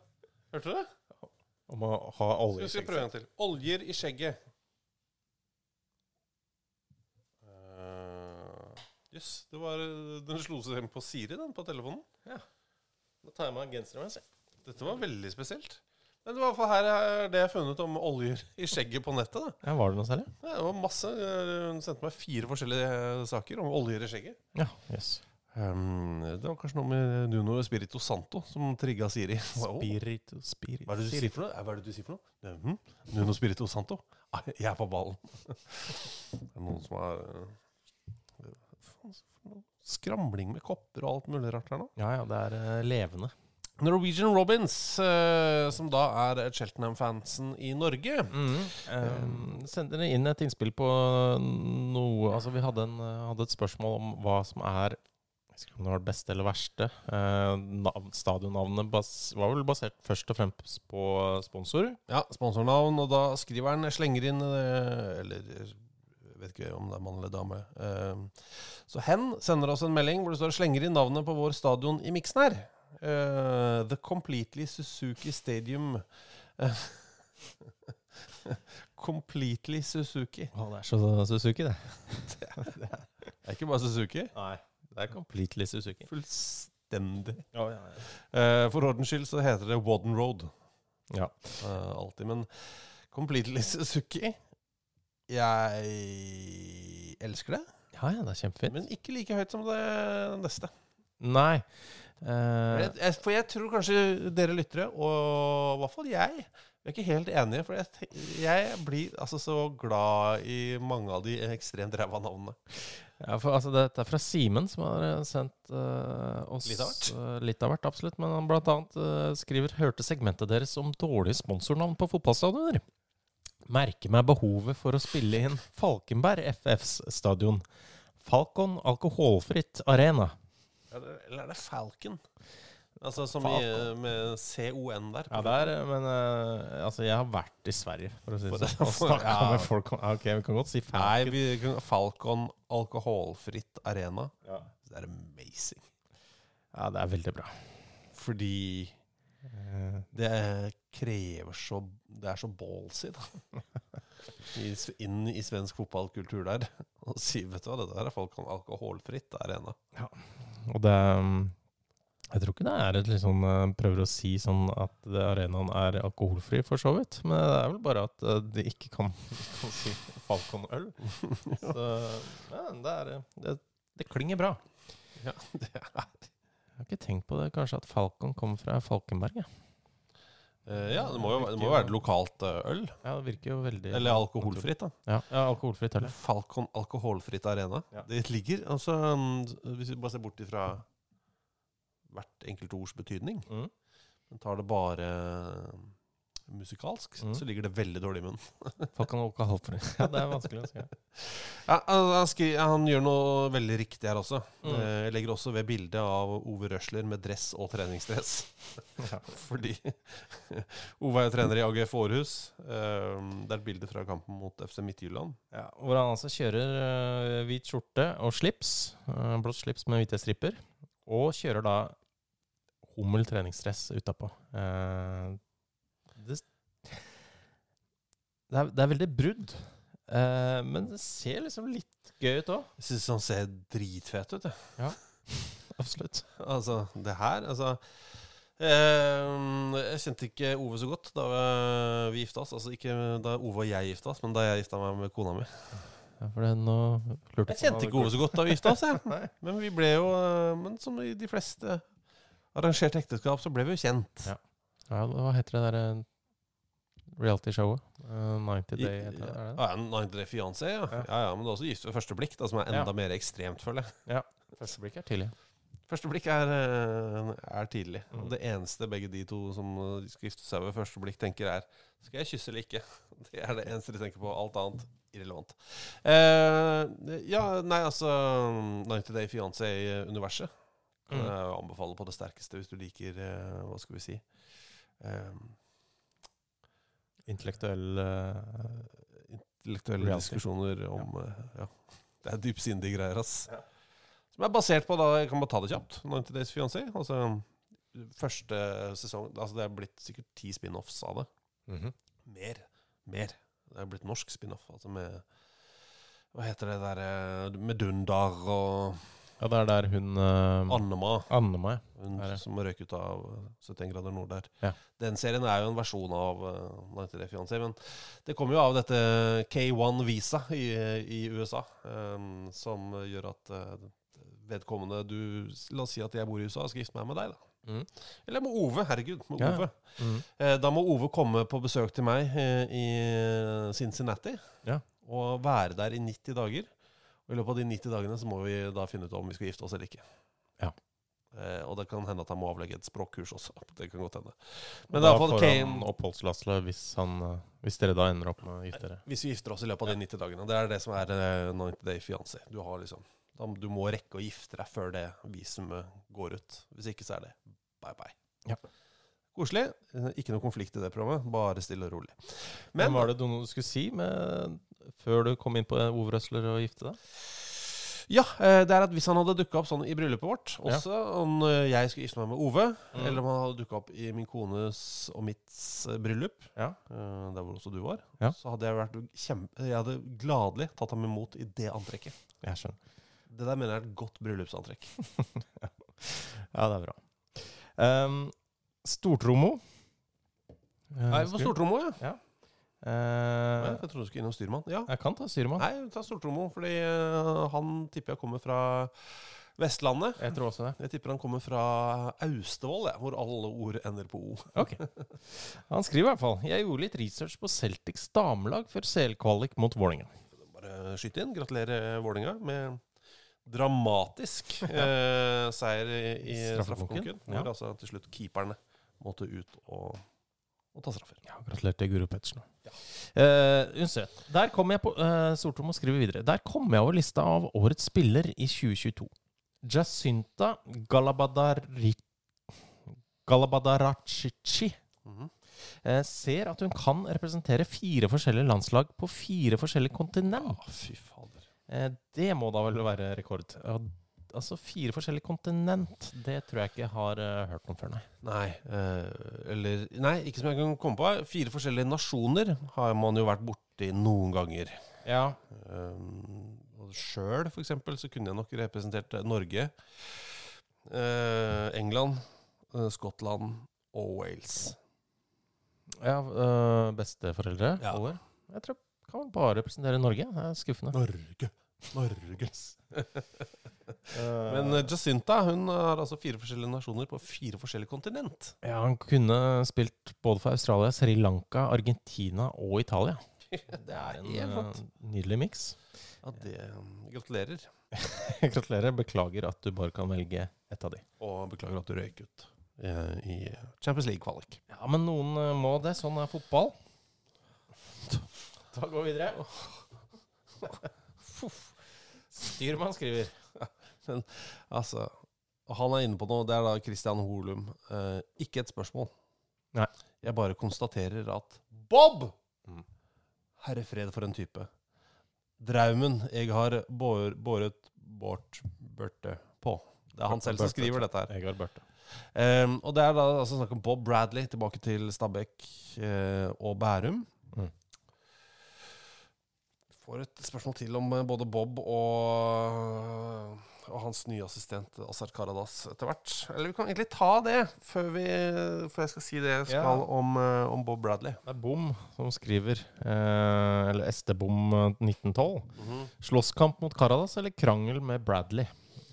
B: Hørte du det?
C: Om å ha
B: Skal
C: olje
B: vi skal prøve en til. Oljer i skjegget. Eh, Jøss, det var Den slo seg hjem på Siri, den, på telefonen.
C: Da tar jeg meg genseren min,
B: Dette var veldig spesielt. Men det var i hvert fall her er det jeg har funnet om oljer i skjegget på nettet. da.
C: Ja, var det noe særlig?
B: Ja, Det var masse. Hun sendte meg fire forskjellige eh, saker om oljer i skjegget.
C: Ja, jøss.
B: Ehm, det var kanskje noe med Nuno Espirito Santo som trigga Siri. Wow.
C: Spirito, spirito.
B: Hva er det du sier for noe? Eh, Hva er det du sier for noe? Det, hm? Nuno Spirito Santo? Ah, Jeg er på ballen. Det er noen som har eh, hva faen er det for noe? Skramling med kopper og alt mulig rart her nå.
C: Ja, ja, det er eh, levende.
B: Norwegian Robins, eh, som da er Cheltenham-fansen i Norge.
C: Mm-hmm. Um, send dere inn et innspill på noe Altså, vi hadde, en, eh, hadde et spørsmål om hva som er jeg husker ikke om det var det beste eller verste. Eh, nav- Stadionnavnet bas var vel basert først og fremst på sponsorer.
B: Ja, sponsornavn, og da skriver han slenger inn eh, Eller jeg vet ikke om det er mann eller dame. Eh, Så hen sender oss en melding hvor det står 'slenger inn navnet på vår stadion i miksen her'. Eh, The Completely Suzuki Stadium. Eh, Completely Suzuki.
C: Å, det er så Suzuki, det.
B: Det er ikke bare Suzuki.
C: Nei, det er completely Suzuki.
B: Fullstendig.
C: Ja, ja,
B: Eh, For ordens skyld så heter det Wadden Road.
C: ja.
B: Eh, alltid. Men Completely Suzuki Jeg elsker det.
C: ja, ja, det er kjempefint.
B: Men ikke like høyt som det neste.
C: Nei.
B: For
C: Eh,
B: jeg, jeg- for jeg tror kanskje dere lyttere, og i hvert fall jeg, vi er ikke helt enige. For jeg, te- jeg blir altså så glad i mange av de ekstremt ræva navnene.
C: Ja, for altså, Dette er fra Simen, som har eh, sendt eh, oss
B: Litt av hvert.
C: eh, litt av hvert. Absolutt. Men han blant annet eh, skriver Hørte segmentet deres om dårlige sponsornavn på fotballstadioner. Merker meg behovet for å spille inn Falkenberg FFs stadion. Falcon alkoholfritt arena.
B: Eller, eller er det Falcon? Altså som i,
C: Falcon.
B: med CON der.
C: Ja, det er, eh, men eh, altså, jeg har vært i Sverige, for å si
B: For
C: det
B: det-
C: sånn. Og snakka
B: ja.
C: med folk om ja, Ok, vi kan godt si
B: Nei,
C: Falcon.
B: vi, Falcon alkoholfritt arena.
C: Ja.
B: Det er amazing.
C: Ja, det er veldig bra.
B: Fordi
C: Eh,
B: det krever så Det er så ballsy, da. I, s- inn i svensk fotballkultur der. Og si, vet du hva, det der er folk kan alkoholfritt arena.
C: Og det um, Jeg tror ikke det er et litt sånn eh, Prøver å si sånn at det, arenaen er alkoholfri, for så vidt. Men det er vel bare at eh, de ikke kan, kan si Falcon-øl. Så ja, det, er, eh, det, det klinger bra.
B: Ja, det er
C: Jeg har ikke tenkt på det, kanskje at Falcon kommer fra Falkenberg. Ja,
B: Eh, Ja, det må jo, være- det må jo være et lokalt eh, øl.
C: ja det virker jo veldig
B: Eller alkoholfritt, da.
C: Ja, ja alkoholfritt øl. ja.
B: Falcon alkoholfritt arena.
C: Ja.
B: Det ligger altså mm, Hvis vi bare ser bort ifra hvert enkelt ords betydning,
C: Mm.
B: men tar det bare eh, musikalsk,
C: Mm.
B: så ligger det veldig dårlig i munnen.
C: Falcon alkoholfri. Ja, det er vanskelig å si.
B: Ja, han, han, skri, han gjør noe veldig riktig her også.
C: Mm.
B: Eh, Jeg legger også ved bildet av Ove Røsler med dress og treningsdress.
C: Ja.
B: Fordi Ove er jo trener i AGF Århus. Eh, Det er et bilde fra kampen mot FC Midtjylland.
C: Ja, hvor han altså kjører eh, hvit skjorte og slips, eh, blått slips med hvite stripper, og kjører da hummel treningsdress utapå. Eh, det, det, er, det er veldig brudd, eh, men det ser liksom litt gøy ut òg.
B: Jeg syns han ser dritfet ut. jeg.
C: Absolutt.
B: Altså, det her Altså eh, Jeg kjente ikke Ove så godt da vi gifta oss. Altså ikke da Ove og jeg gifta oss, men da jeg gifta meg med kona mi.
C: Ja, for det, nå lurte
B: Jeg kjente ikke Ove så godt da vi gifta oss, jeg. Men vi ble jo eh, Men som i de fleste arrangerte ekteskap, så ble vi jo kjent.
C: Ja. Ja, hva heter det derre reality-showet? Eh, 90
B: I-
C: Day, heter det. Er det?
B: Ja, en andre fiancé, ja.
C: Ja.
B: ja. ja. Men det er også gift ved første blikk, da, som er enda mer ekstremt, føler jeg.
C: det? Første blikk er tidlig.
B: Første blikk er, eh, er tidlig. Og
C: Mm.
B: det eneste begge de to som eh, skal gifte seg ved første blikk, tenker er Skal jeg kysse eller ikke? Det er det eneste de tenker på. Alt annet irrelevant. Eh, ja, nei, altså 90 Day Fiancé-universet. Kan
C: Mm.
B: Eh, jeg anbefale på det sterkeste hvis du liker eh, Hva skal vi si eh,
C: Intellektuell eh,
B: Intellektuelle
C: Reality.
B: diskusjoner om eh, ja. Det er dypsindige greier, ass. Som er basert på da, Jeg kan bare ta det kjapt. 90 Days Fiancé. Altså, første sesong altså Det er blitt sikkert ti spin-offs av det.
C: Mm.
B: Mer. Mer. Det er blitt norsk spin-off. Altså med Hva heter det derre Med Dundar og
C: Ja, det er der hun eh,
B: Annema.
C: Annema, ja.
B: Hun
C: Er det?
B: som røyk ut av eh, 71 grader nord der.
C: Ja.
B: Den serien er jo en versjon av eh, 93 Fiancé, men det kommer jo av dette K1 Visa i, i USA, eh, som gjør at eh, vedkommende du La oss si at jeg bor i USA og skal gifte meg med deg, da.
C: Mm.
B: Eller med Ove. Herregud, med
C: Ja.
B: Ove.
C: Mhm.
B: Eh, Da må Ove komme på besøk til meg eh, i Cincinnati
C: Ja.
B: og være der i 90 dager. Og I løpet av de 90 dagene så må vi da finne ut om vi skal gifte oss eller ikke.
C: Ja.
B: Eh, og det kan hende at han må avlegge et språkkurs også. Det kan godt hende.
C: Men
B: Men i
C: da
B: hvert fall
C: får han
B: Kane-
C: oppholdstillatelse hvis, han, eh, hvis dere da ender opp med å gifte dere.
B: Hvis vi gifter oss i løpet av de 90 dagene. Det er det som er eh, 90 day fiancé. Du, har liksom, da- du må rekke å gifte deg før det visumet går ut. Hvis ikke så er det bye bye.
C: Ja.
B: Koselig. Eh, Ikke noe konflikt i det programmet. Bare stille og rolig.
C: Men var det noe du skulle si med, før du kom inn på Ove Røsler og gifte deg?
B: Ja, eh, det er at hvis han hadde dukka opp sånn i bryllupet vårt
C: Ja.
B: også, om eh, jeg skulle gifte meg med Ove,
C: Mm.
B: eller om han hadde dukka opp i min kones og mitt eh, bryllup,
C: Ja.
B: eh, der hvor også du var,
C: Ja.
B: så hadde jeg vært kjempe... Jeg hadde gladelig tatt ham imot i det antrekket.
C: Jeg skjønner.
B: Det der mener jeg er et godt bryllupsantrekk.
C: Ja, det er bra. Ehm, Stortromo.
B: Nei, på stortrommo, ja.
C: Eh,
B: Jeg trodde du skulle innom styrmann. Ja.
C: jeg kan ta styrmann.
B: Nei, ta stortrommo, fordi eh, han tipper jeg kommer fra Vestlandet.
C: Jeg tror også det.
B: Jeg tipper han kommer fra Austevoll, jeg, hvor alle ord ender på O.
C: Ok. Han skriver i hvert fall Jeg gjorde litt research på Celtics damelag før CL-kvalik mot Vålerenga.
B: bare skyte inn. Gratulerer Vålinga med dramatisk eh, seier i, i
C: Straffekonken,
B: straffekonken.
C: ja.
B: Hvor altså til slutt keeperne måtte ut og, og ta straffer.
C: Ja, gratulerer til Guro Pettersen. Eh, Unnskyld. Der kom jeg på eh, Stortrom og skriver videre. Der kom jeg over lista av årets spiller i 2022. Jacinta Galabadari... Galabadaracici
B: Mhm.
C: eh, ser at hun kan representere fire forskjellige landslag på fire forskjellige kontinent.
B: Ah, Fy fader.
C: Eh, det må da vel være rekord. Ja, altså fire forskjellige kontinent, det tror jeg ikke jeg har eh, hørt noe før, nei.
B: Nei, eh, eller Nei, ikke som jeg kan komme på. Fire forskjellige nasjoner har man jo vært borti noen ganger.
C: Ja,
B: Um, Sjøl, for eksempel, så kunne jeg nok representert eh, Norge, eh, England, eh, Skottland og Wales.
C: Ja, øh, besteforeldre
B: Ja.
C: over. Jeg tror jeg kan bare representere Norge. Det er skuffende.
B: Norge, Norge.
C: Øh,
B: Men eh, Jacinta hun har altså fire forskjellige nasjoner på fire forskjellige kontinent.
C: ja, han kunne spilt både for Australia, Sri Lanka, Argentina og Italia.
B: Det er
C: En øh, nydelig miks.
B: Ja, det eh, Gratulerer.
C: Gratulerer. Beklager at du bare kan velge ett av de.
B: Og beklager at du røyk ut eh, i Champions League-kvalik.
C: Ja, men noen øh, må det. Sånn er fotball. Da går vi videre. Fuff. Styrmann skriver.
B: Altså, og han er inne på noe. Det er da Christian Holum. Eh, ikke et spørsmål.
C: Nei.
B: Jeg bare konstaterer at Bob!
C: Mm.
B: Herre fred for en type. Draumen jeg har bår, båret bort børte på. Det er han selv som
C: Børte.
B: skriver dette her.
C: Egar Børte.
B: Ehm, og det er da altså, snakk om Bob Bradley tilbake til Stabæk eh, og Bærum.
C: Mm.
B: Får et spørsmål til om eh, både Bob og og hans nye assistent Azar Karadas etter hvert. Eller vi kan egentlig ta det før, vi, før jeg skal si det jeg skal
C: Ja.
B: om, eh, om Bob Bradley.
C: Det er Bom som skriver, eh, eller SD-Bom 1912.
B: Mhm.
C: Slåsskamp mot Karadas eller krangel med Bradley?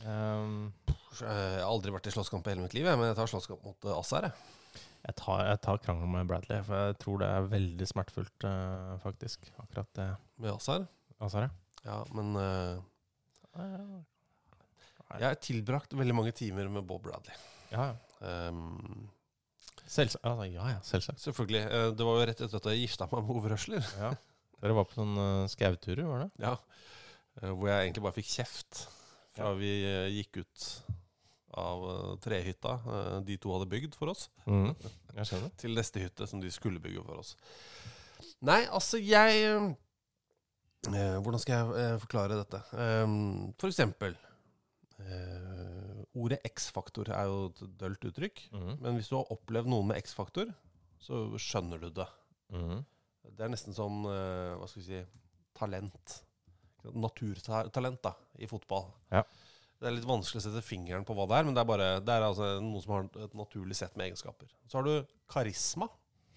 C: Um,
B: Eh, Jeg har aldri vært i slåsskamp i hele mitt liv, jeg, men jeg tar slåsskamp mot eh, Azar. jeg.
C: jeg, tar, jeg tar krangel med Bradley, for jeg tror det er veldig smertefullt, eh, faktisk. Akkurat det.
B: Med Azar.
C: Azar,
B: Ja, men eh,
C: ja.
B: jeg har tilbrakt veldig mange timer med Bob Bradley.
C: Ja, ja.
B: Ehm,
C: Selvsagt. Altså, ja, ja, selvsagt.
B: selvfølgelig. eh, Det var jo rett etter at jeg gifta meg med Ove Røsler.
C: Ja. Dere var på noen uh, skauturer, var det?
B: Ja. Eh, Hvor jeg egentlig bare fikk kjeft fra vi eh, gikk ut av eh, trehytta eh, de to hadde bygd for oss,
C: Jeg skjønner.
B: til neste hytte som de skulle bygge for oss. Nei, altså, jeg eh, Hvordan skal jeg eh, forklare dette? Ehm, for eksempel eh, Ordet X-faktor er jo et dølt uttrykk.
C: Mhm.
B: Men hvis du har opplevd noen med X-faktor, så skjønner du det.
C: Mhm.
B: Det er nesten sånn eh, Hva skal vi si Talent. Naturtalent, da, i fotball.
C: Ja.
B: Det er litt vanskelig å sette fingeren på hva det er, men det er, bare, det er altså noen som har et naturlig sett med egenskaper. Så har du karisma.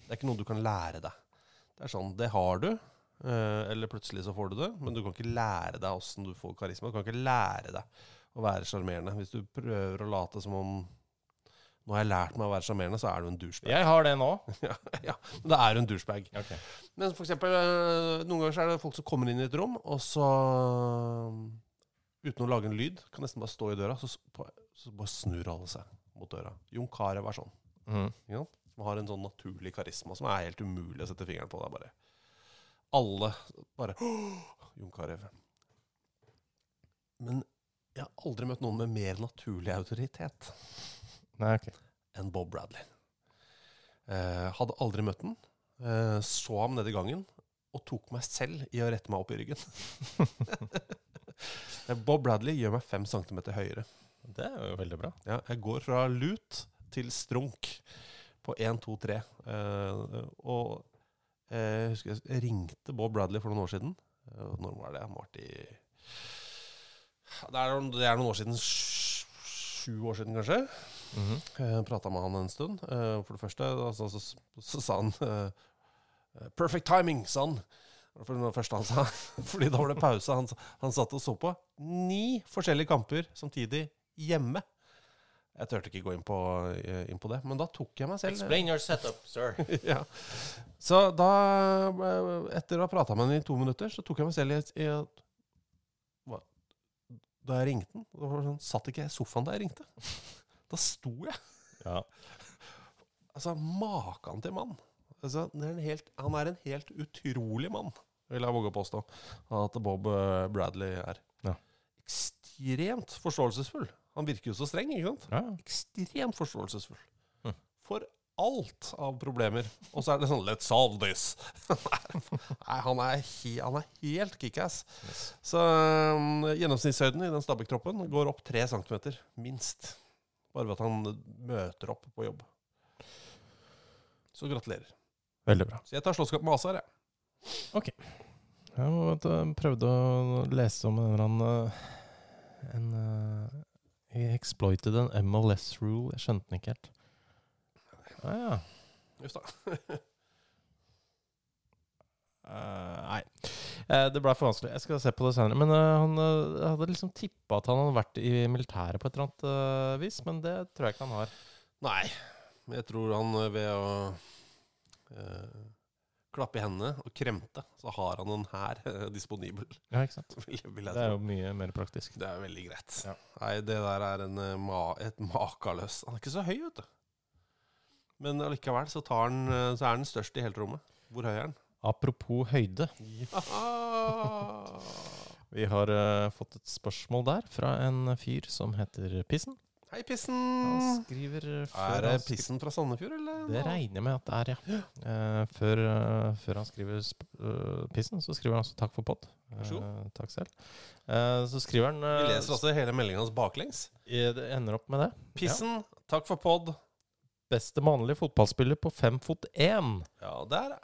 B: Det er ikke noe du kan lære deg. Det er sånn, det har du, eh, eller plutselig så får du det, men du kan ikke lære deg åssen du får karisma. Du kan ikke lære deg å være sjarmerende. Hvis du prøver å late som om nå har jeg lært meg å være sjarmerende, så er du en douchebag.
C: Jeg har det nå.
B: Ja, ja, men da er du en douchebag.
C: Ok.
B: Men for eksempel, øh, noen ganger så er det folk som kommer inn i et rom, og så øh, Uten å lage en lyd, kan nesten bare stå i døra, så, s- på, så bare snur alle seg mot døra. Jon Carew er sånn.
C: Mhm.
B: ikke sant? Som har en sånn naturlig karisma som er helt umulig å sette fingeren på. Det er bare Alle bare Jon Carew. Men jeg har aldri møtt noen med mer naturlig autoritet
C: Nei, ok.
B: enn Bob Bradley. Eh, hadde aldri møtt den. Eh, så ham nede i gangen og tok meg selv i å rette meg opp i ryggen. Eh, Bob Bradley gjør meg fem centimeter høyere.
C: Det er jo veldig bra.
B: Ja, jeg går fra lut til strunk på 1, 2, 3. Eh, og eh, jeg husker jeg ringte Bob Bradley for noen år siden. Eh, når var det? Han var i det er, noen- det er noen år siden. sj- Sju år siden, kanskje. Eh,
C: Mhm.
B: Jeg prata med han en stund. Eh, For det første altså, så, så, så sa han eh, 'Perfect timing', sa han. For det var det første han sa. Fordi da var det pause. Han, han satt og så på ni forskjellige kamper samtidig hjemme. Jeg turte ikke gå inn på, eh, inn på det, men da tok jeg meg selv eh,
C: your setup, sir.
B: ja. Så da, eh, etter å ha prata med henne i to minutter, så tok jeg meg selv i, i at hva? Da jeg ringte den, da var det sånn, satt ikke jeg i sofaen da jeg ringte. Da sto jeg.
C: Ja.
B: Altså, maken til mann. Altså, det er en helt, han er en helt utrolig mann, vil jeg våge å påstå, at Bob eh, Bradley er.
C: Ja.
B: Ekstremt forståelsesfull. Han virker jo så streng, ikke sant?
C: Ja.
B: ekstremt forståelsesfull.
C: Hm.
B: For alt av problemer. Og så er det sånn 'let's solve this'. Nei, han er, he, han er helt kickass. Så um, gjennomsnittshøyden i den Stabæk-troppen går opp tre centimeter, minst. Bare ved at han møter opp på jobb. Så gratulerer.
C: Veldig bra.
B: Så jeg tar slåsskamp med Azar, jeg.
C: Jeg må- vet du, prøvde å lese om en eller annen eh, en, eh, Jeg exploited en MLS rule. Jeg skjønte den ikke helt. Ah, ja.
B: Just da.
C: Eh, nei. Eh, det ble for vanskelig. Jeg skal se på det senere. Men eh, han eh, hadde liksom tippa at han hadde vært i militæret på et eller annet eh, vis, men det tror jeg ikke han har.
B: Nei, men jeg tror han eh, ved å eh, klappe i hendene og kremte, så har han en hær eh, disponibel.
C: Ja, ikke sant?
B: Vil, vil jeg
C: Det er
B: tro.
C: jo mye mer praktisk.
B: Det er veldig greit.
C: Ja.
B: Nei, det der er en, eh, ma et makaløs Han er ikke så høy, vet du. Men allikevel så, tar han, eh, så er han den største i hele rommet. Hvor høy er han?
C: Apropos høyde.
B: Ja.
C: Vi har eh, fått et spørsmål der fra en fyr som heter Pissen.
B: Hei,
C: Han
B: Pissen!
C: skriver
B: Er
C: før
B: det
C: han skri-
B: Pissen fra Sandefjord, eller?
C: Det regner jeg med at det er, ja. Eh, før, eh, før han skriver sp eh, Pissen, så skriver han også 'takk for pod'.
B: Vær så
C: Eh, takk selv. Eh, så skriver han
B: Vi
C: eh,
B: leser også hele meldinga hans baklengs.
C: eh, Det ender opp med det.
B: Pissen, takk for pod.
C: Beste mannlige fotballspiller på fem fot én.
B: Ja, der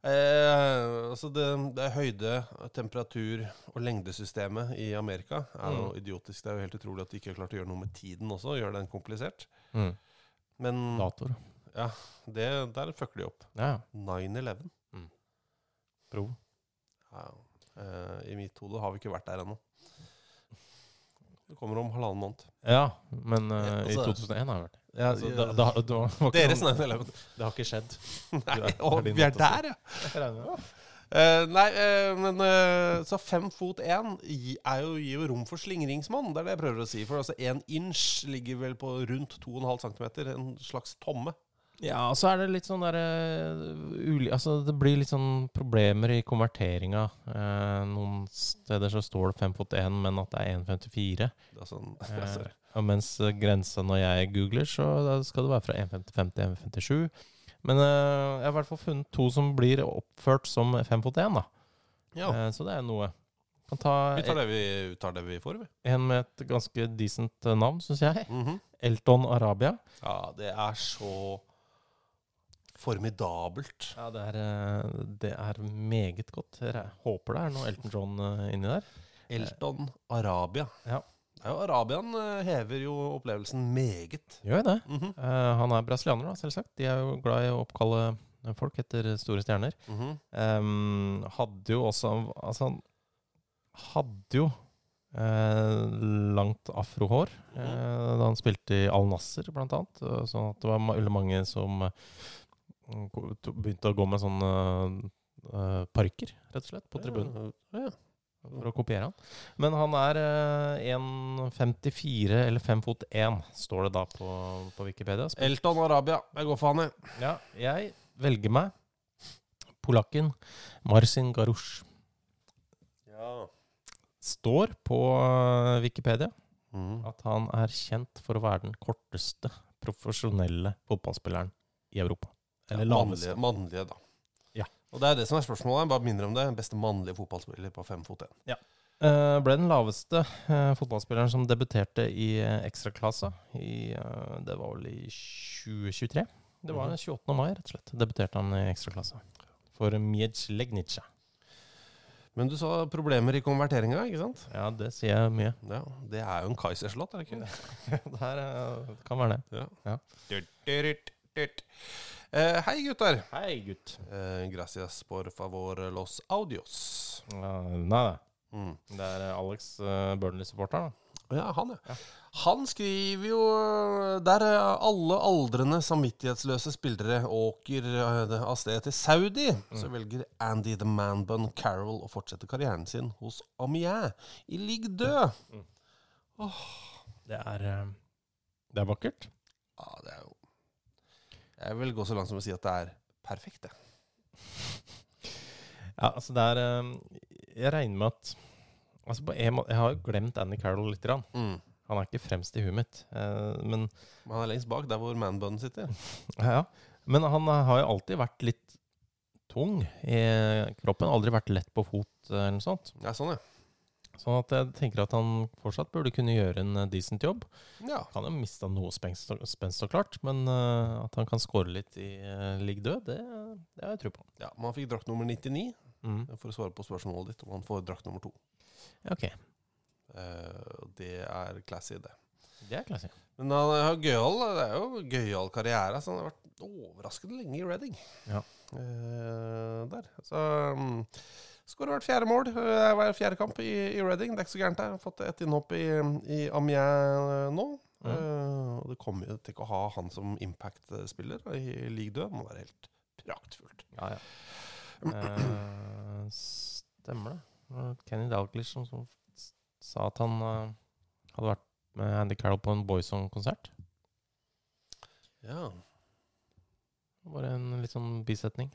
B: Eh, altså det, det er høyde, temperatur og lengdesystemet i Amerika er jo
C: Mm.
B: idiotisk. Det er jo helt utrolig at de ikke har klart å gjøre noe med tiden også, og gjøre den komplisert.
C: Mm.
B: Men
C: Datoer.
B: ja, det, der fucker de opp.
C: Ja, ja.
B: 9-11.
C: Prov.
B: Ja, ja. Eh, I mitt hode har vi ikke vært der ennå. Det kommer om halvannen måned.
C: Ja, men eh,
B: altså-
C: i 2001 har jeg vært det.
B: Ja,
C: Altså, da, da, det var ikke
B: Deres
C: noe-
B: 9-11.
C: Det har ikke skjedd. Du
B: Nei,
C: er-
B: å,
C: er din
B: vi er
C: måte å si.
B: der, ja! Eh, nei, eh, men eh, Så fem fot én gi- er jo, gir jo rom for slingringsmonn, det er det jeg prøver å si. For altså én inch ligger vel på rundt 2,5 cm, en slags tomme.
C: Ja, og så er det litt sånn derre uli- Altså, det blir litt sånn problemer i konverteringa. Eh, noen steder så står det 5.1, men at det er 1.54.
B: Det er sånn,
C: Eh,
B: jeg ser.
C: og mens eh, grensa når jeg googler, så da skal det være fra 1.55 til 1.57. Men eh, jeg har i hvert fall funnet to som blir oppført som 5.1, da.
B: Ja,
C: Eh, så det er noe. Kan ta
B: vi tar det vi, vi tar det vi får, vi.
C: en med et ganske decent eh, navn, syns jeg.
B: Mhm.
C: Elton Arabia.
B: Ja, det er så formidabelt.
C: Ja, det er, eh, det er meget godt. Jeg håper det er noe Elton John eh, inni der.
B: Elton Arabia.
C: Ja.
B: Det er jo Arabian eh, hever jo opplevelsen meget.
C: Gjør jo det.
B: Mhm,
C: Eh, han er brasilianer, da, selvsagt. De er jo glad i å oppkalle folk etter store stjerner.
B: mhm.
C: Em, Ehm, hadde jo også Altså, han hadde jo eh, langt afrohår eh, da han spilte i Al Nasser, blant annet. eh, Sånn at det var ma- veldig mange som eh, ko- to- begynte å gå med sånne eh, parykker, rett og slett, på tribunen.
B: Ja, ja.
C: For å kopiere han. Men han er eh, 1,54 eller 5 fot 1, står det da på, på Wikipedia. Spil-
B: Elton Arabia. Jeg går for han, jeg.
C: Ja, jeg velger meg polakken Marcin Garusz. Står på eh, Wikipedia
B: Mhm.
C: at han er kjent for å være den korteste profesjonelle fotballspilleren i Europa. Eller
B: Ja,
C: laveste.
B: mannlige, mannlige, da.
C: Ja.
B: Og det er det som er spørsmålet. Bare mindre om det. Beste mannlige fotballspiller på fem fot én.
C: Eh, ble den laveste eh, fotballspilleren som debuterte i uh, ekstraklasse. I, eh, det var vel i 2023. Det var
B: Mhm.
C: 28. mai, rett og slett. Debuterte han i ekstraklasse. For Miec Legnica.
B: Men du sa problemer i konverteringa, ikke sant?
C: Ja, det sier jeg mye.
B: Ja, Det er jo en Kaiserslott, er det ikke?
C: det her eh, det kan være det.
B: Durt, durt, durt. Eh, hei, gutter.
C: Hei, gutt.
B: Eh, gracias por favor los audios.
C: nei, nei.
B: Mm.
C: Det er eh, Alex uh, Burnley-supporter, da.
B: Ja, han, ja. Han skriver jo øh, Der øh, alle aldrende samvittighetsløse spillere åker øh, av sted til Saudi, så velger Andy the Man-Bun Carroll å fortsette karrieren sin hos Amiens i Ligue 2.
C: Det er, eh, det er vakkert.
B: Ja, det er jo Jeg vil gå så langt som å si at det er perfekt, det.
C: Ja, altså det er eh, Jeg regner med at Altså på en måte Jeg har jo glemt Andy Carroll litt. Grann.
B: Mm.
C: Han er ikke fremst i huet mitt. eh, men,
B: Men han er lengst bak, der hvor Man-Bun sitter.
C: ja, men han eh, har jo alltid vært litt tung i kroppen. Aldri vært lett på fot eh, eller noe sånt.
B: Ja, sånn, ja.
C: Sånn at jeg tenker at han fortsatt burde kunne gjøre en eh, decent jobb.
B: ja.
C: Han har mista noe spenst, spenst så klart, men eh, at han kan score litt i uh, ligg død, det, det har jeg tro på.
B: Ja, Man fikk drakt nummer 99
C: Mm.
B: for å svare på spørsmålet ditt om han får drakt nummer to.
C: Ok,
B: Eh, og det er classy, det.
C: det er klasse.
B: Men han eh, har gøyal, det er jo gøyal karriere. Så han har vært overraskende lenge i Reading.
C: Ja.
B: Eh, der. Så um, skårer hvert fjerde mål. eh, Hver fjerde kamp i, i Reading. Det er ikke så gærent. der. Har fått ett innhopp i, i Amiens nå.
C: Ja.
B: Eh, og det kommer jo til ikke å ha han som impact-spiller eh, i league død. Må være helt praktfullt.
C: Ja, ja. Eh, stemmer det. Det var Kenny Dalglish som, som s- sa at han eh, hadde vært med Andy Carroll på en Boyzone-konsert.
B: Ja.
C: Bare en litt sånn bisetning.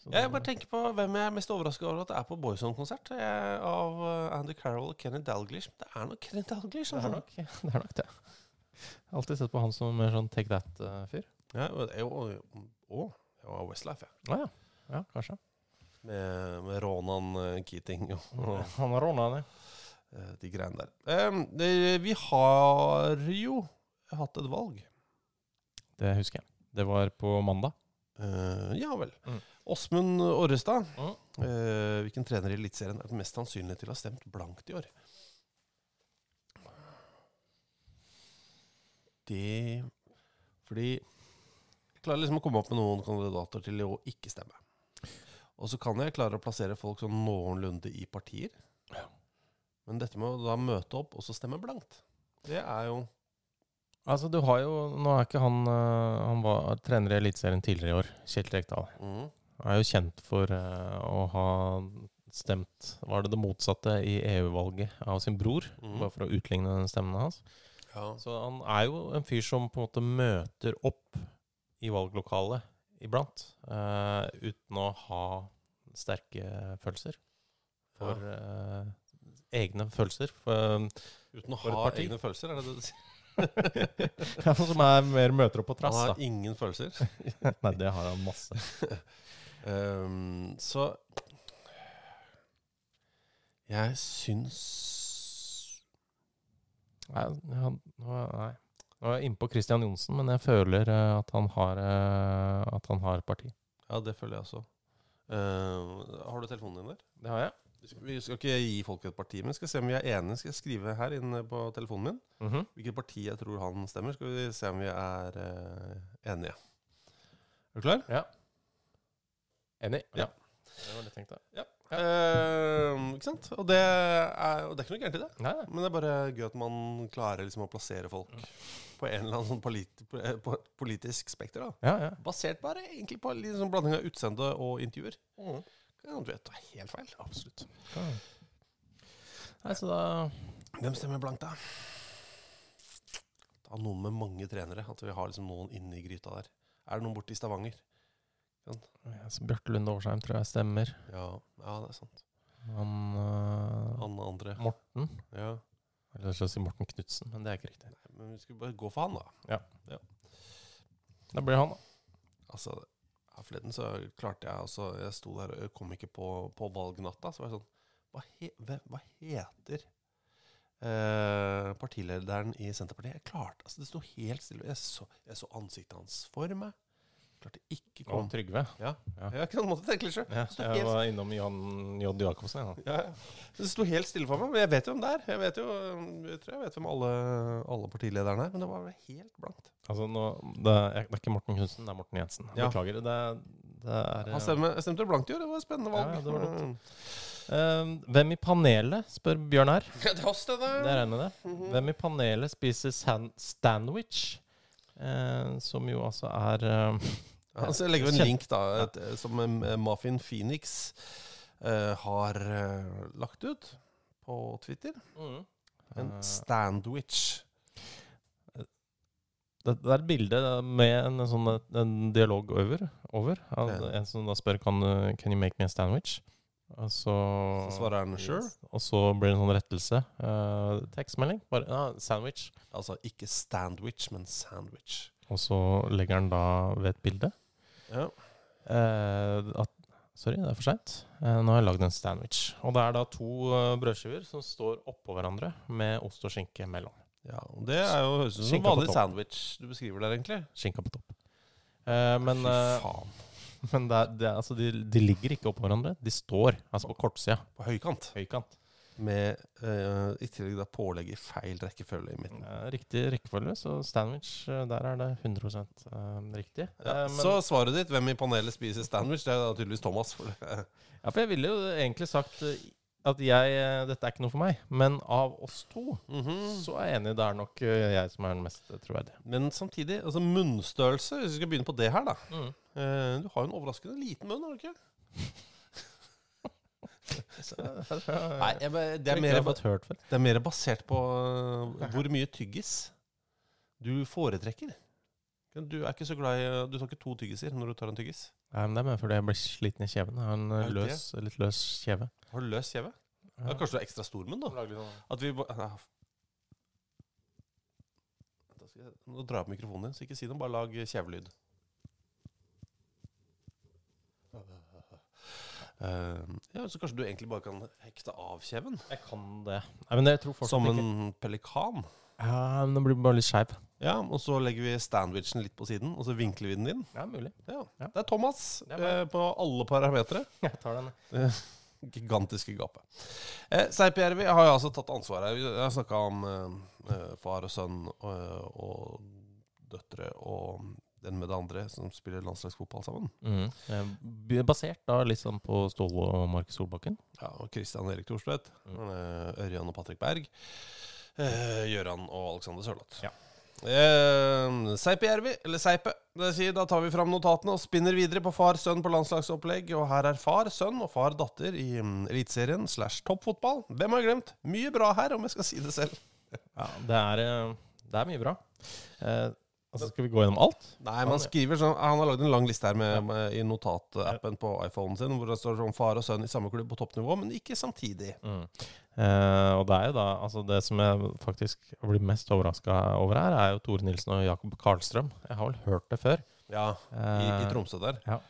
C: Så
B: Jeg
C: det-
B: bare tenker på hvem jeg er mest overraska over at det er på Boyzone-konsert. Jeg er Av eh, Andy Carroll og Kenny Dalglish. Det er nok Kenny Dalglish.
C: det
B: altså.
C: er nok det. Er nok det. Jeg har alltid sett på han som mer sånn take that-fyr.
B: Ja, og det er jo Å, det var Westlife, ja.
C: Å ja. ja, kanskje.
B: Med, med Ronan eh, Keating og, og
C: Han har ordna det.
B: eh, de greiene der. Em, det, vi har jo hatt et valg.
C: Det husker jeg. Det var på mandag.
B: Eh, Eh, ja vel.
C: Mm.
B: Åsmund Orrestad.
C: Mm.
B: Eh, hvilken trener i Eliteserien er den mest sannsynlig til å ha stemt blankt i år? Det Fordi jeg klarer liksom å komme opp med noen kandidater til å ikke stemme. Og så kan jeg klare å plassere folk sånn noenlunde i partier. Men dette med å da møte opp og så stemme blankt, det er jo
C: Altså, du har jo Nå er ikke han eh, Han var trener i Eliteserien tidligere i år, Kjetil Rekdal.
B: mm,
C: Han er jo kjent for eh, å ha stemt Var det det motsatte i EU-valget av sin bror?
B: Mhm.
C: Bare for å utligne den stemmen hans.
B: ja.
C: Så han er jo en fyr som på en måte møter opp i valglokalet iblant, eh, uten å ha sterke følelser. For eh, egne følelser. For, eh,
B: Uten å
C: For et
B: ha
C: parti.
B: egne følelser, er det det du sier?
C: som er mer møter opp på
B: Han
C: trass,
B: har
C: da.
B: ingen følelser.
C: Nei, det har han masse.
B: Ehm, så Jeg syns
C: Nei, han, nå er- nei. Nå er jeg inne på Christian Johnsen, men jeg føler eh, at han har, eh, at han har et parti.
B: Ja, det føler jeg også. Ehm, har du telefonen din der?
C: Det har jeg.
B: Vi skal ikke gi folk et parti, men skal se om vi er enige. Skal jeg skrive her inne på telefonen min
C: Mhm.
B: hvilket parti jeg tror han stemmer? Skal vi se om vi er eh, enige. Er du klar?
C: Ja. Enig?
B: Ja.
C: Det var det jeg tenkte.
B: Ehm, ikke sant? Og det er, og det er ikke noe gærent i det.
C: Nei, nei.
B: Men det er bare gøy at man klarer liksom å plassere folk på en eller annen sånn polit, på- eh, på- politisk spekter. da.
C: Ja, ja.
B: Basert bare egentlig på litt sånn blanding av utseende og intervjuer. Kan du vet, det er helt feil. Absolutt.
C: Nei, så da
B: Hvem stemmer blankt, da? Ta noen med mange trenere. At vi har liksom noen inni gryta der. Er det noen borte i Stavanger?
C: Ja, så Bjarte Lunde Årsheim tror jeg stemmer.
B: Ja, ja det er sant.
C: Han, øh,
B: Han andre.
C: Morten.
B: Ja.
C: Eller jeg skal si Morten Knutsen, men det er ikke riktig.
B: Nei, Men vi skulle bare gå for han, da.
C: Da blir han, da.
B: Altså, her forleden så klarte jeg altså, Jeg sto der og kom ikke på, på valgnatta. Så var jeg sånn Hva, he, hve- hva heter eh, partilederen i Senterpartiet? Jeg klarte altså, Det sto helt stille. Jeg så, jeg så ansiktet hans for meg. Klarte ikke
C: Og
B: kom.
C: Trygve.
B: Ja.
C: Ja.
B: Jeg kan måtte tenke litt sjøl.
C: Ja,
B: Det sto
C: jeg
B: helt
C: var innom Johan J. Jacobsen. jeg, da.
B: ja, ja. Det sto helt stille for meg, men jeg vet jo hvem det er. Jeg vet jo, jeg tror jeg vet hvem alle, alle partilederne er, men det var helt blankt.
C: Altså, nå, det, er, det er ikke Morten Knutsen, det er Morten Jensen.
B: Ja.
C: Beklager. Det, er- det er
B: Han stemte, stemte blankt i år, det var et spennende valg.
C: Ja, ja, det var det.
B: Mm.
C: eh, Hvem i panelet, spør Bjørn her.
B: Ja, det er oss, det
C: Det
B: der.
C: er jeg med det. Hvem i panelet spiser san sandwich? Eh, som jo altså er eh,
B: Ja, altså, jeg legger jo en
C: Kjent.
B: link da, et, som eh, Muffin Phoenix eh, har eh, lagt ut på Twitter. En
C: Eh,
B: sandwich.
C: Det, det er et bilde med en, sånn, en dialog over. over av
B: Ja.
C: En som da spør kan du- Can you make me a sandwich? Og så,
B: Så svarer han sure.
C: Og så blir det en sånn rettelse. Eh, tekstmelding. Bare ja, sandwich.
B: Altså ikke sandwich, men sandwich.
C: Og så legger han da ved et bilde
B: Ja.
C: eh, at Sorry, det er for seint. Eh, nå har jeg lagd en sandwich. Og det er da to eh, brødskiver som står oppå hverandre med ost og skinke mellom.
B: Ja, og det er jo høres ut som
C: Skinka
B: en
C: på
B: vanlig
C: topp.
B: sandwich du beskriver der, egentlig.
C: Skinka på topp. Eh, men eh,
B: Fy faen.
C: men det er, det er, altså, de, de ligger ikke oppå hverandre. De står altså på kortsida.
B: På høykant.
C: Høykant.
B: Med eh, i tillegg da pålegg i feil rekkefølge i midten.
C: Eh, Riktig rekkefølge, så sandwich, eh, der er det 100 eh, riktig.
B: Ja,
C: Eh, men,
B: så svaret ditt, hvem i panelet spiser sandwich, det er da tydeligvis Thomas. For det.
C: ja, for jeg ville jo egentlig sagt eh, at jeg, eh, dette er ikke noe for meg, men av oss to
B: Mm.
C: så er jeg enig. Det er nok eh, jeg som er den mest troverdige.
B: Men samtidig, altså munnstørrelse, hvis vi skal begynne på det her, da.
C: Mm.
B: Eh, du har jo en overraskende liten munn, har du ikke? Nei, eh, jeg, bare- det, er mer,
C: jeg fått hørt før.
B: det er mer basert på eh, hvor mye tyggis du foretrekker. Du er ikke så glad i eh, Du tar ikke to tyggiser når du tar en tyggis.
C: Nei, men det er bare fordi jeg blir sliten i kjeven. Jeg har en eh,
B: Er det det?
C: løs, litt løs kjeve.
B: Har du løs kjeve? Ja, kanskje du sånn- har ekstra stor munn, da? At vi ba- Nei, f- Da skal jeg- Nå drar jeg opp mikrofonen din, så ikke si noe. Bare lag kjevelyd. Eh, ja, så kanskje du egentlig bare kan hekte av kjeven?
C: Jeg kan det. Nei, men jeg tror fortsatt
B: Som
C: ikke
B: en pelikan?
C: Ja, men Den blir bare litt skeiv.
B: Ja, og så legger vi sandwichen litt på siden, og så vinkler vi den inn.
C: Ja, mulig.
B: Ja.
C: Ja.
B: Det er Thomas
C: Det er meg.
B: eh, på alle parametere.
C: Jeg tar den.
B: Gigantiske gapet. Eh, Seipjärvi har jo altså tatt ansvar her. Vi har snakka om eh, eh, far og sønn eh, og, og døtre og den med det andre som spiller landslagsfotball sammen.
C: Mm. Eh, b- Basert da litt sånn på Ståle og Markus Solbakken.
B: Ja, og Christian Erik Thorstvedt, eh, Ørjan og Patrick Berg, eh, Gøran og Alexander Sørloth.
C: Ja.
B: Eh, Seipe Jervi, eller Seipe. Det sier, da tar vi fram notatene og spinner videre på far-sønn på landslagsopplegg. Og her er far, sønn og far-datter i mm, Eliteserien slash toppfotball. Hvem har jeg glemt? Mye bra her, om jeg skal si det selv.
C: Ja, det er, eh, det er mye bra. Eh, altså, skal vi gå gjennom alt?
B: Nei, man skriver sånn Han har lagd en lang liste her med, med, i notatappen på iPhonen sin, hvor det står sånn far og sønn i samme klubb på toppnivå, men ikke samtidig.
C: Eh, og det er jo da altså Det som jeg faktisk blir mest overraska over her, er jo Tore Nilsen og Jakob Karlstrøm. Jeg har vel hørt det før.
B: Ja, i,
C: Eh.
B: i Tromsø der.
C: Ja.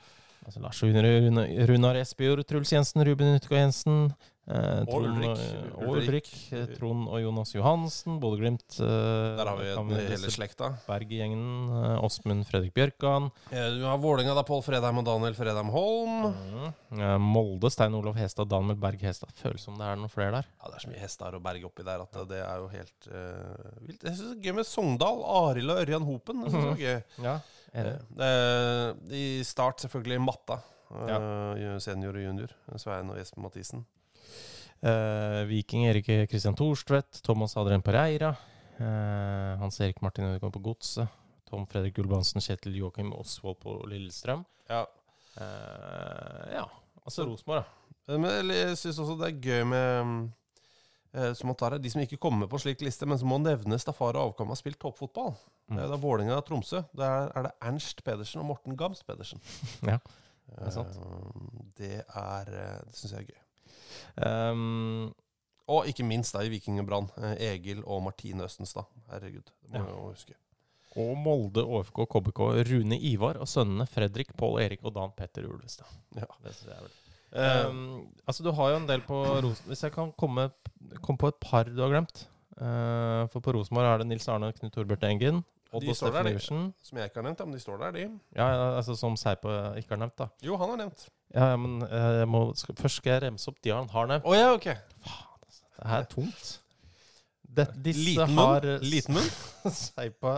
C: Altså Lars Runar, Runar- Runar Espejord, Truls Jensen, Ruben Utgård Jensen. Eh, Trond,
B: Ulrik.
C: eh, og
B: Ulrik.
C: Ulrik. eh, Trond og Jonas Johansen. Bodø-Glimt. eh,
B: Der har vi
C: kan
B: den hele
C: disse
B: slekta.
C: Berg-gjengen. eh, Åsmund Fredrik Bjørkan.
B: Eh, Du har Vålerenga, da. Pål Fredheim og Daniel Fredheim Holm.
C: Eh, Molde, Stein Olav Hestad, Daniel Berg Hestad. Føles som det er noen flere der.
B: Ja, Det er så mye hester og berg oppi der at det er jo helt eh, vilt. Jeg synes det er gøy med Sogndal, Arild og Ørjan Hopen. Det synes jeg var gøy.
C: Ja, enig.
B: Eh, I start selvfølgelig Matta.
C: Ja.
B: Eh, Senior og junior. Svein og Espen Mathisen.
C: Eh, Viking Erik Kristian Thorstvedt, Thomas Adrian Pereira, eh, Hans Erik Martin Ødegaard på Godset, Tom Fredrik Gulbrandsen, Kjetil Joakim Osvold på Lillestrøm.
B: Ja.
C: Eh, ja, altså Rosenborg, da.
B: Eh, Men eller, jeg syns også det er gøy med mm, eh, som man tar her, De som ikke kommer på slik liste, men som må nevnes da far og avkom har spilt toppfotball. Det er da Vålerenga og Tromsø. Der er det Ernst Pedersen og Morten Gamst Pedersen.
C: Ja, det er sant.
B: Eh, Det er eh, Det syns jeg er gøy.
C: Ehm,
B: Og ikke minst da i Viking og Brann. eh, Egil og Martine Østenstad. Herregud, det må
C: Ja.
B: jeg jo huske.
C: og Molde, ÅFK, KBK, Rune Ivar og sønnene Fredrik, Pål Erik og Dan Petter Ulvestad.
B: Ja.
C: Det synes jeg er vel. Ehm, altså, du har jo en del på Rosen... Hvis jeg kan komme, komme på et par du har glemt. Eh, for på Rosenborg er det Nils Arne og Knut Torbjørn Engen. Odd
B: De
C: og
B: står der,
C: Steffen
B: de.
C: Iversen.
B: Som jeg ikke har nevnt, ja, men de står der, de.
C: Ja, ja, altså som Seipo ikke har nevnt, da.
B: Jo, han har nevnt.
C: Ja, ja, men eh, jeg må, skal, først skal jeg remse opp de han har nevnt.
B: Å ja, ok.
C: Det her er tungt. Det, disse
B: Liten
C: har eh,
B: munn. Liten munn.
C: Seipa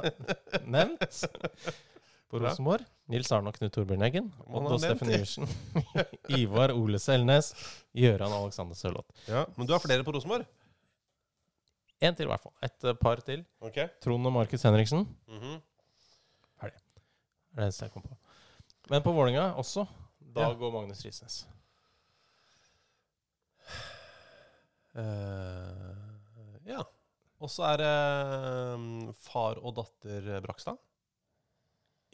C: nevnt på
B: Bra.
C: Rosenborg. Nils Arne og Knut Torbjørn Eggen.
B: Han
C: Odd
B: har
C: og Steffen
B: nevnt
C: Iversen. Ivar Ole Selnes. Gøran og Alexander Sørloth.
B: Ja, men du har flere på Rosenborg?
C: Én til, i hvert fall. Et eh, par til.
B: Ok.
C: Trond og Markus Henriksen.
B: Mhm.
C: Ferdig. Det er det eneste jeg kom på. Men på Vålinga også. Da
B: Ja.
C: går Magnus Risnes.
B: Eh, ja. Og så er det eh, far og datter Brakstad.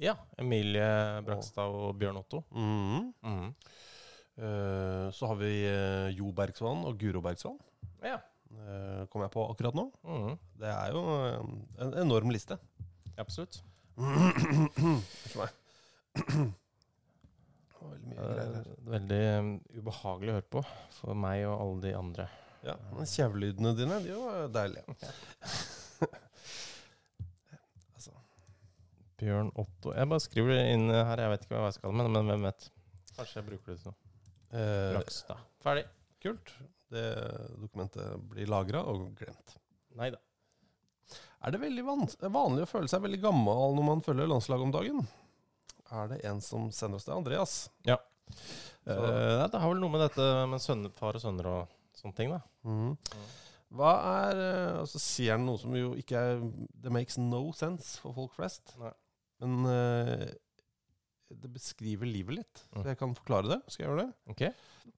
C: Ja. Emilie Brakstad og Bjørn Otto.
B: Mhm.
C: Mm-hmm.
B: Eh, så har vi eh, Jo Bergsvann og Guro Bergsvann.
C: Ja.
B: Eh, Kommer jeg på akkurat nå.
C: Mhm.
B: Det er jo eh, en enorm liste.
C: Absolutt.
B: Unnskyld meg. Det var veldig mye
C: Det
B: greier
C: er
B: her.
C: veldig um, ubehagelig å høre på for meg og alle de andre.
B: Ja, men Kjevlydene dine de var deilige.
C: Bjørn Otto Jeg bare skriver det inn her. Jeg vet ikke hva jeg skal med, men hvem vet. Kanskje jeg bruker det til noe.
B: Eh,
C: Brakstad. Ferdig.
B: kult. Det dokumentet blir lagra og glemt.
C: Nei da.
B: Er det veldig van vanlig å føle seg veldig gammel når man følger landslaget om dagen? Er det en som sender oss det? Andreas.
C: Ja.
B: Så-
C: Eh, det har vel noe med dette med sønner, far og sønner og sånne ting, da.
B: Mhm. Hva er eh, Og så sier han noe som jo ikke er Det makes no sense for folk flest.
C: Nei.
B: Men eh, det beskriver livet litt. Så
C: Mm.
B: jeg kan forklare det. Skal jeg gjøre det?
C: Ok?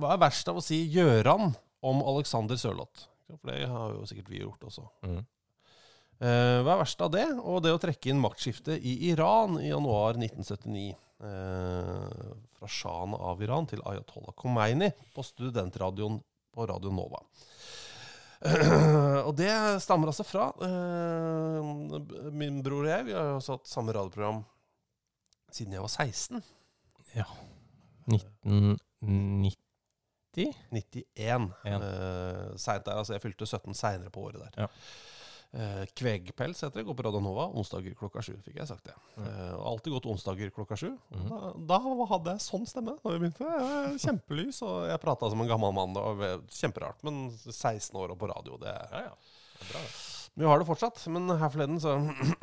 B: Hva er verst av å si Gjøran om Alexander Sørloth? For det har jo sikkert vi gjort også.
C: Mhm.
B: Eh, hva er verst av det, og det å trekke inn maktskiftet i Iran i januar 1979? Eh, fra sjahen av Iran til Ayatollah Khomeini på studentradioen på Radio Nova. Eh, og det stammer altså fra eh, Min bror og jeg vi har jo også hatt samme radioprogram siden jeg var 16.
C: 1990.
B: 91.
C: En.
B: Eh, sent der, altså jeg fylte 17 seinere på året der.
C: Ja.
B: Eh, Kvegpels heter det. Går på Radio Nova onsdager klokka sju, fikk jeg sagt det. Eh, og alltid gått onsdager klokka sju. Da, da hadde jeg sånn stemme da vi begynte. Jeg er Kjempelys, og jeg prata som en gammel mann. Det var ve- kjemperart. Men 16 år og på radio, det
C: Ja, ja. Bra, det.
B: Vi har det fortsatt, men her forleden så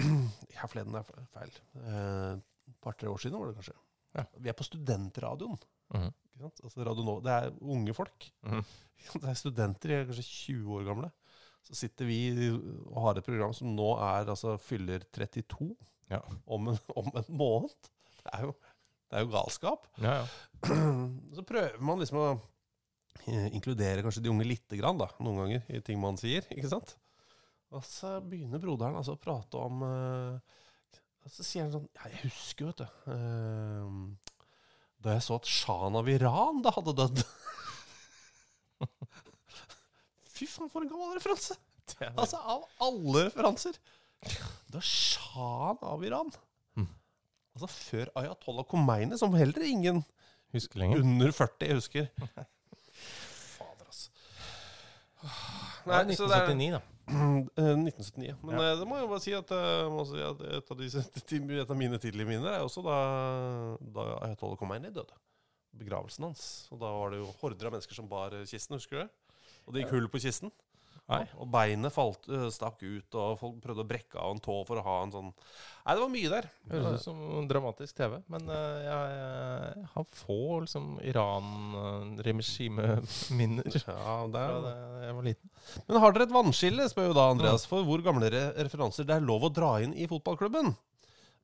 B: Her forleden er feil. Eh, Et par-tre år siden var det kanskje.
C: Ja.
B: Vi er på studentradioen.
C: Mhm.
B: Ikke sant? Altså Radio Nova. Det er unge folk.
C: Mhm.
B: Ikke sant? Det er studenter, de er kanskje 20 år gamle. Så sitter vi og har et program som nå er, altså, fyller 32
C: Ja.
B: om, en, om en måned. Det er jo, det er jo galskap.
C: Ja, ja.
B: Så prøver man liksom å eh, inkludere kanskje de unge lite grann, da, noen ganger, i ting man sier, ikke sant? Og så begynner broderen altså å prate om eh, Og så sier han sånn Ja, jeg husker jo, vet du eh, Da jeg så at Shan av Iran da hadde dødd. Fy faen, for en gammel referanse! Altså, av alle referanser! Da Shan av Iran Altså før Ayatollah Khomeini, som heller ingen
C: Husker lenger.
B: under 40, jeg husker. Fader, altså.
C: Nei,
B: Nei, så det er-
C: 1979, da.
B: Eh, 1979. Men
C: Ja.
B: eh, det må jeg bare si at, eh, må si at et, av disse, et av mine tidlige minner er også da, da Ayatollah Khomeini døde. Begravelsen hans. Og da var det jo horder av mennesker som bar eh, kisten, husker du det? Og det gikk hull på kisten.
C: Nei.
B: Og beinet falt, eh, stakk ut, og folk prøvde å brekke av en tå for å ha en sånn Nei, det var mye der.
C: Høres ut som dramatisk TV, men eh, jeg, eh, har få liksom Iran-regimeminner
B: Ja, det
C: fra
B: er
C: da jeg var liten.
B: Men har dere et vannskille, spør jo da Andreas, for hvor gamle re referanser det er lov å dra inn i fotballklubben?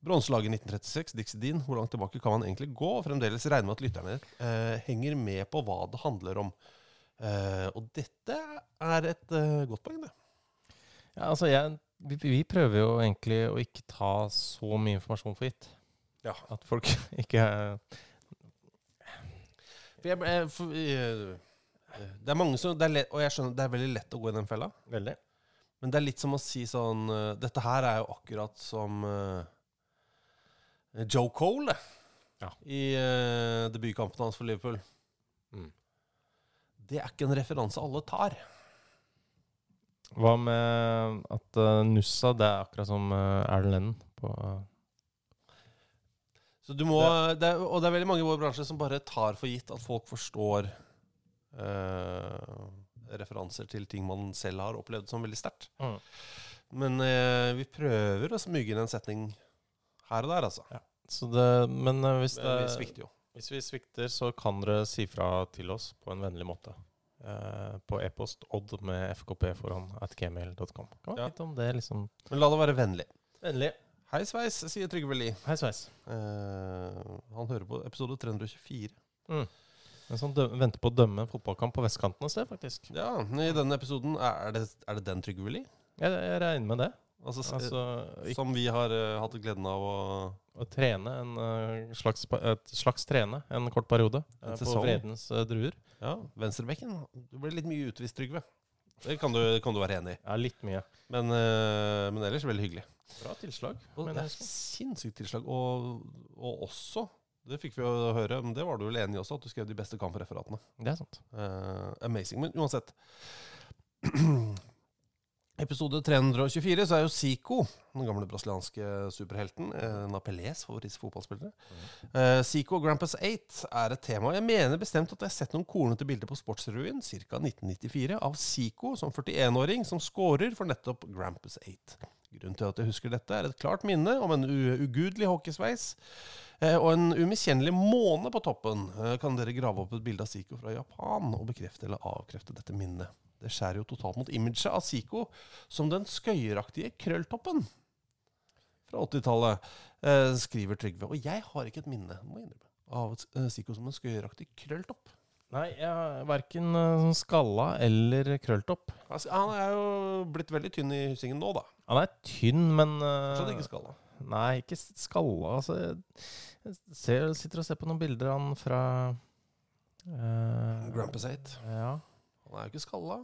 B: Bronselaget 1936, Dixedin, hvor langt tilbake kan man egentlig gå? Og fremdeles regne med at lytterne eh, henger med på hva det handler om. Eh, og dette er et eh, godt poeng, det.
C: Ja, altså, jeg, vi, vi prøver jo egentlig å ikke ta så mye informasjon for gitt.
B: Ja.
C: At folk ikke
B: For jeg, eh, for, eh, det er mange som, det er lett, og jeg skjønner, det er veldig lett å gå i den fella.
C: Veldig.
B: Men det er litt som å si sånn eh, Dette her er jo akkurat som eh, Joe Cole det,
C: Ja.
B: i eh, debutkampen hans for Liverpool.
C: Mm.
B: Det er ikke en referanse alle tar.
C: Hva med at eh, Nussa, det er akkurat som uh, Erlend Lennon på eh,
B: Så du må, det er, og det er veldig mange i vår bransje som bare tar for gitt at folk forstår eh, referanser til ting man selv har opplevd som veldig sterkt.
C: Mm.
B: Men eh, vi prøver å smyge inn en setning her og der, altså.
C: Så det Men eh, hvis, det,
B: Men vi svikter jo.
C: hvis vi svikter, så kan dere si fra til oss på en vennlig måte. Eh, på e-post odd med fkp foran at gmail.com. Kan man
B: Ja.
C: vite om det liksom
B: Men la det være vennlig.
C: Vennlig.
B: Hei sveis, sier Trygve Lie.
C: Hei, sveis.
B: Eh, han hører på episode 324.
C: En sånn dø venter på å dømme en fotballkamp på vestkanten et sted, faktisk.
B: Ja, I denne episoden er det, er det den Trygve Lie?
C: Jeg, jeg regner med det.
B: Altså, s-
C: Altså, ikke
B: som vi har eh, hatt gleden av å
C: å trene en eh, slags, pa- et slags trene en kort periode
B: En
C: eh, på
B: sesong.
C: Vredens eh, druer.
B: Ja, venstrebekken. Du ble litt mye utvist, Trygve. Det kan du, kan du være enig i.
C: Ja, litt mye.
B: Men, eh, men ellers veldig hyggelig.
C: Bra tilslag.
B: Og
C: Men
B: det er sinnssykt tilslag. Og, og også, det fikk vi jo høre, men det var du vel enig i også, at du skrev de beste kampreferatene.
C: det er sant.
B: Eh, amazing. Men uansett Episode 324 så er jo Zico, den gamle brasilianske superhelten, eh, en av Pelés favorittfotballspillere Eh, Zico og Grampus 8 er et tema. Jeg mener bestemt at jeg har sett noen kornete bilder på Sportsrevyen ca. 1994 av Zico som 41-åring som scorer for nettopp Grampus 8. Grunnen til at jeg husker dette, er et klart minne om en u- ugudelig hockeysveis eh, og en umiskjennelig måne på toppen. Eh, Kan dere grave opp et bilde av Zico fra Japan og bekrefte eller avkrefte dette minnet? Det skjærer jo totalt mot imaget av Zico som den skøyeraktige krølltoppen fra 80-tallet, eh, skriver Trygve. Og jeg har ikke et minne, må jeg innrømme, av et, eh, Zico som en skøyeraktig krølltopp.
C: Nei, jeg, verken eh, skalla eller krølltopp.
B: Altså, han er jo blitt veldig tynn i hyssingen nå, da.
C: Han er tynn, men eh,
B: Fortsatt ikke skalla.
C: Nei, ikke s- skalla. Altså, jeg jeg ser, sitter og ser på noen bilder av han fra eh,
B: Grampus 8.
C: Ja.
B: Han er jo ikke skalla.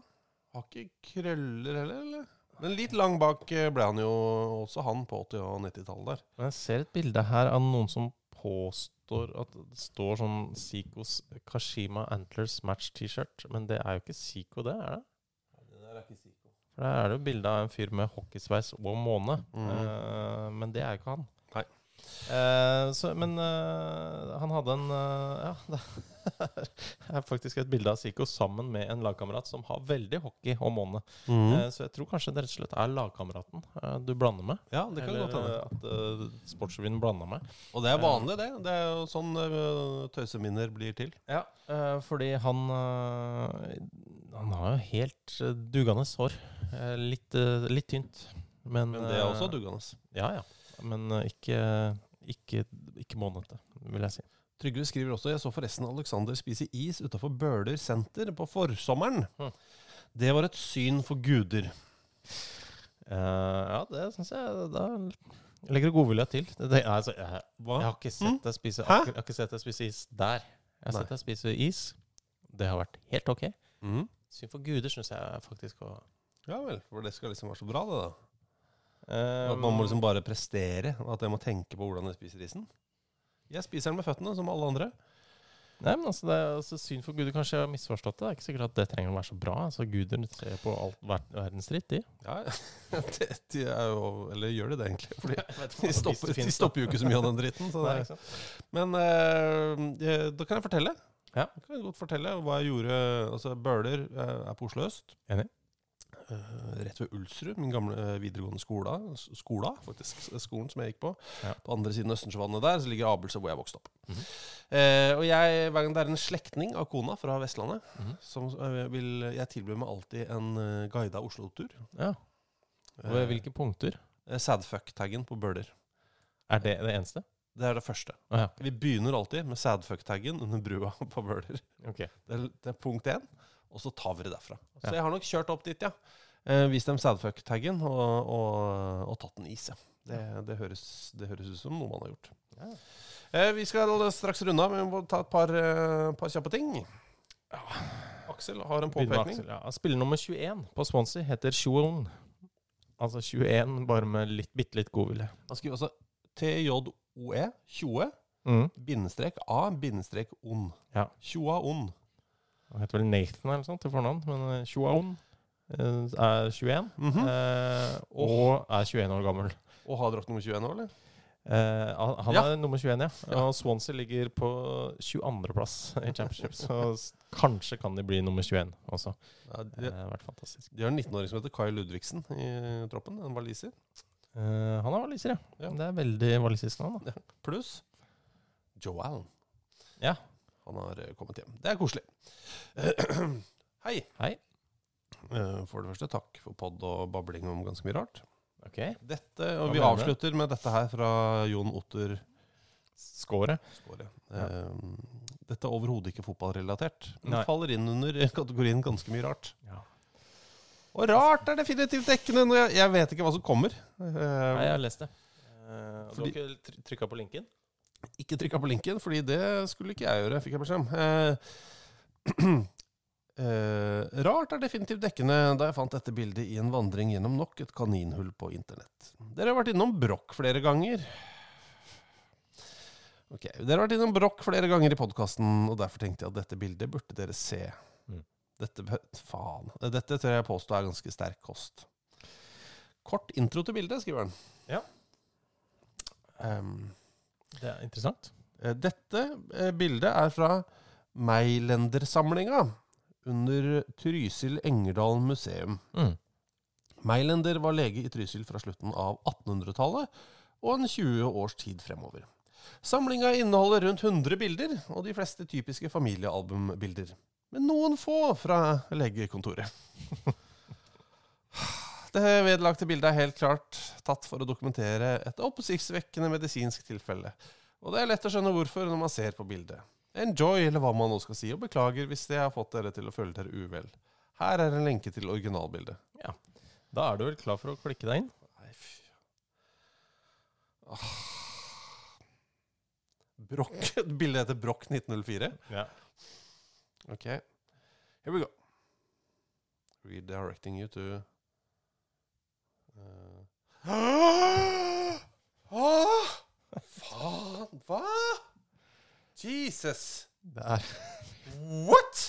B: Har ikke krøller heller, eller? Men litt lang bak eh, ble han jo også, han på 80- og 90-tallet der.
C: Men jeg ser et bilde her av noen som påstår at det står sånn Sikos Kashima Antlers match-T-shirt. Men det er jo ikke Siko, det, er det?
B: Det der er ikke Zico.
C: For For der er det jo bilde av en fyr med hockeysveis og måne, eh, men det er jo ikke han.
B: Mm. Nei.
C: Eh, så, men eh, han hadde en eh, Ja, det er faktisk et bilde av Siko sammen med en lagkamerat som har veldig hockey og måne.
B: Mm.
C: Eh, så jeg tror kanskje det rett og slett er lagkameraten eh, du blander med.
B: Ja, det kan godt hende.
C: Eller at uh, Sportsrevyen blanda meg.
B: eh, Og det er vanlig, det. Det er jo sånn eh, tøyseminner blir til.
C: Ja, eh, fordi han eh, Han har jo helt eh, dugende hår. Eh, litt, eh, litt tynt. Men,
B: Men det er også
C: eh,
B: duggende.
C: Ja, ja. Men eh, ikke, ikke, ikke månete, vil jeg si.
B: Trygve skriver også Jeg så forresten Alexander spise is utafor Bøler senter på forsommeren.
C: Hm.
B: Det var et syn for guder.
C: Eh, ja, det syns jeg Da legger du godvilja til. Det, det, altså, jeg, jeg har ikke sett deg spise
B: Hm? Hæ?
C: akkur- Jeg har ikke sett deg spise is der. Jeg har
B: Nei.
C: sett deg spise is. Det har vært helt ok.
B: Mhm.
C: Synd for guder, syns jeg faktisk. Og,
B: Ja vel, for det skal liksom være så bra, det, da.
C: Eh,
B: At man må liksom bare prestere. At jeg må tenke på hvordan jeg spiser isen. Jeg spiser den med føttene, som alle andre.
C: Nei, men altså, det er altså, synd for guder. Kanskje jeg har misforstått det. Det er ikke sikkert at det trenger å være så bra. Altså, guder ser på alt ver verdens dritt, de.
B: Ja, det, de er jo, Eller gjør de det, egentlig? Fordi
C: hva,
B: de
C: hvis
B: stopper,
C: det finnes,
B: de stopper jo ikke så mye av den dritten. Så det er, Men eh, eh, da kan jeg fortelle.
C: Ja.
B: Da kan jeg godt fortelle hva jeg gjorde. Altså, Bøler eh, er på Oslo øst.
C: Enig.
B: Eh, rett ved Ulsrud, min gamle eh, videregående skola, s- skola, faktisk, s- skolen som jeg gikk på.
C: Ja. Mhm.
B: På andre siden av Østensjøvannet der så ligger Abelse, hvor jeg vokste opp. Eh, og jeg, hver gang det er en slektning av kona fra Vestlandet,
C: Mhm.
B: som eh, vil Jeg tilbyr meg alltid en eh, guida Oslo-tur.
C: ja. Og ved hvilke punkter?
B: Eh, Sadfuck-taggen på Bøler.
C: Er det det eneste?
B: Det er det første.
C: Å ja.
B: Vi begynner alltid med sadfuck-taggen under brua på Bøler.
C: Ok.
B: Det er, det er punkt én, og så tar vi det derfra. Så
C: Ja.
B: jeg har nok kjørt opp dit, ja. Eh, vist dem sadfuck-taggen og, og, og tatt en is, ja. Det, det, høres, det høres ut som noe man har gjort. Eh, vi skal straks runde av, men vi må ta et par, eh, par kjappe ting. Aksel har en
C: Begynner med
B: påpekning.
C: Aksel, Ja. Spiller nummer 21 på Swansea heter Shuon. Altså 21, bare med litt, bitte litt godvilje.
B: Han skriver altså TJOE 20
C: Mm.
B: E, bindestrek A bindestrek on.
C: Ja.
B: Tjoa on.
C: Han heter vel Nathan eller noe sånt til fornavn, men eh, Shuon eh, er 21,
B: Mhm.
C: eh, og er 21 år gammel.
B: Og har dere hatt nummer 21 nå, eller?
C: Eh, han han
B: Ja.
C: er nummer 21, ja. Og Swansea ligger på 22.-plass i Championship. så s- kanskje kan de bli nummer 21 også. Eh,
B: Ja,
C: Det
B: de,
C: har vært fantastisk.
B: de har en 19-åring som heter Kai Ludvigsen i troppen. En waliser.
C: Eh, han er waliser, ja.
B: Ja.
C: Det er veldig walisisk navn. da.
B: Pluss Joel.
C: Ja.
B: Han har eh, kommet hjem. Det er koselig. Hei.
C: Hei.
B: Eh, For det første, takk for podd og babling om ganske mye rart.
C: Ok.
B: Dette, og
C: Hva
B: vi
C: mener du?
B: avslutter med dette her fra Jon Otter
C: Skåret.
B: Skåre. Eh, Dette er overhodet ikke fotballrelatert, men
C: Nei.
B: faller inn under kategorien ganske mye rart.
C: Ja.
B: Og rart er definitivt dekkende når jeg, jeg vet ikke hva som kommer. Eh,
C: Nei, jeg har lest det. Eh, og
B: Fordi-
C: Du har ikke trykka på linken?
B: ikke trykka på linken, fordi det skulle ikke jeg gjøre, fikk jeg beskjed om. Eh, eh, rart er definitivt dekkende da jeg fant dette bildet i en vandring gjennom nok et kaninhull på internett. Dere har vært innom brokk flere ganger. Ok, Dere har vært innom brokk flere ganger i podkasten, og derfor tenkte jeg at dette bildet burde dere se.
C: Mm.
B: Dette, bø- faen. dette tør jeg påstå er ganske sterk kost. Kort intro til bildet, skriver han.
C: Ja.
B: Ehm,
C: Det er interessant.
B: Eh, Dette eh, bildet er fra Meilendersamlinga under Trysil Engerdal museum.
C: Mm.
B: Meilender var lege i Trysil fra slutten av 1800-tallet og en 20 års tid fremover. Samlinga inneholder rundt 100 bilder, og de fleste typiske familiealbumbilder. Men noen få fra legekontoret. Det vedlagte bildet er helt klart tatt for å dokumentere et oppsiktsvekkende medisinsk tilfelle. Og det er lett å skjønne hvorfor når man ser på bildet. Enjoy, eller hva man nå skal si, og beklager hvis det har fått dere til å føle dere uvel. Her er en lenke til originalbildet.
C: Ja. Da er du vel klar for å klikke deg inn?
B: Nei, fy. Åh. Brokk. Bildet heter Brokk 1904.
C: Ja.
B: Ok. Here we go. Redirecting you to eh, uh. ah! Faen, hva? Jesus!
C: Det er,
B: What?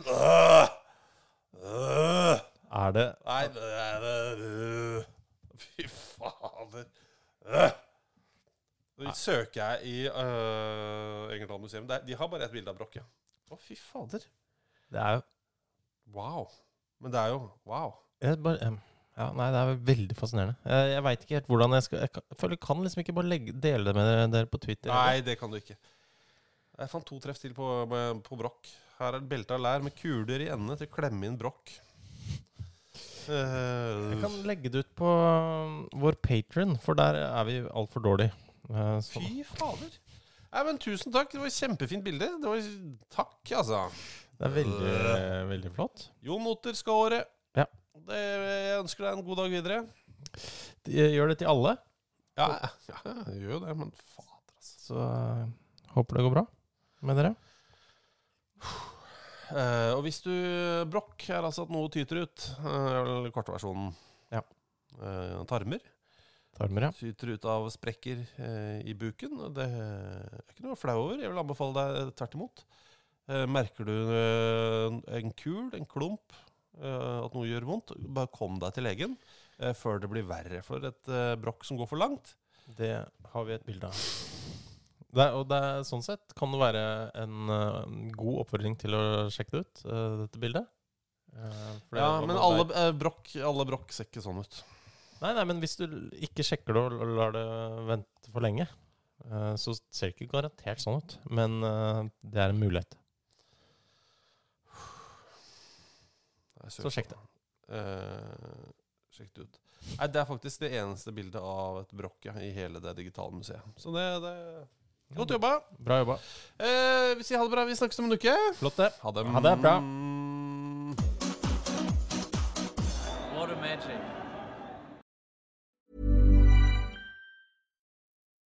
B: Øh! Øh!
C: er det
B: Nei, det er det- Fy fader. Øh. Nå søker jeg i øh, Engerdal museum. Det er- De har bare et bilde av Broch, ja. Å, fy fader.
C: Det er jo
B: Wow. Men det er jo Wow.
C: jeg bare, em, ja, Nei, det er veldig fascinerende. Eh, Jeg, jeg veit ikke helt hvordan jeg skal Jeg, kan, jeg føler jeg kan liksom ikke bare legge, dele det med dere på Twitter.
B: Nei, det kan du ikke. Jeg fant to treff til på, på Broch. Her er et belte av lær med kuler i endene til å klemme inn Broch.
C: Jeg
B: Eh,
C: kan legge det ut på um, vår patron, for der er vi altfor dårlige. Eh, så-
B: fy fader. Nei, men Tusen takk. Det var et kjempefint bilde. Det var, takk, altså.
C: Det er veldig, eh, veldig flott.
B: Jon Motter skal ha året.
C: Ja.
B: Det, jeg ønsker deg en god dag videre.
C: De- Gjør det til alle,
B: Ja, ja, jeg gjør jo det, men fader, altså.
C: så eh, håper det går bra med dere.
B: Eh, og hvis du Brokk er altså at noe tyter ut, eh, eller kortversjonen
C: Ja.
B: Eh, tarmer
C: Tarmer, ja.
B: tyter ut av sprekker eh, i buken. og Det er ikke noe flau over. Jeg vil anbefale deg tvert imot. Eh, merker du eh, en kul, en klump, eh, at noe gjør vondt, bare kom deg til legen eh, før det blir verre. For et eh, brokk som går for langt
C: Det har vi et bilde av. Det er, og det er, sånn sett kan det være en eh, god oppfordring til å sjekke det ut, eh, dette bildet. Eh, for det
B: Ja,
C: var
B: men
C: noe
B: alle
C: der-
B: eh, brokk, alle brokk ser ikke sånn ut.
C: Nei, nei, men hvis du ikke sjekker det og l- lar det vente for lenge, eh, så ser det ikke garantert sånn ut. Men eh, det er en mulighet.
B: Nei,
C: Så sjekk det.
B: Eh, sjekk det ut. Nei, det er faktisk det eneste bildet av et brokk ja, i hele det digitale museet. Så det, det Godt jobba.
C: Bra jobba.
B: Eh, vi sier ha det bra. Vi snakkes om en uke.
C: Flott, det.
B: Ha det.
C: Ha det bra.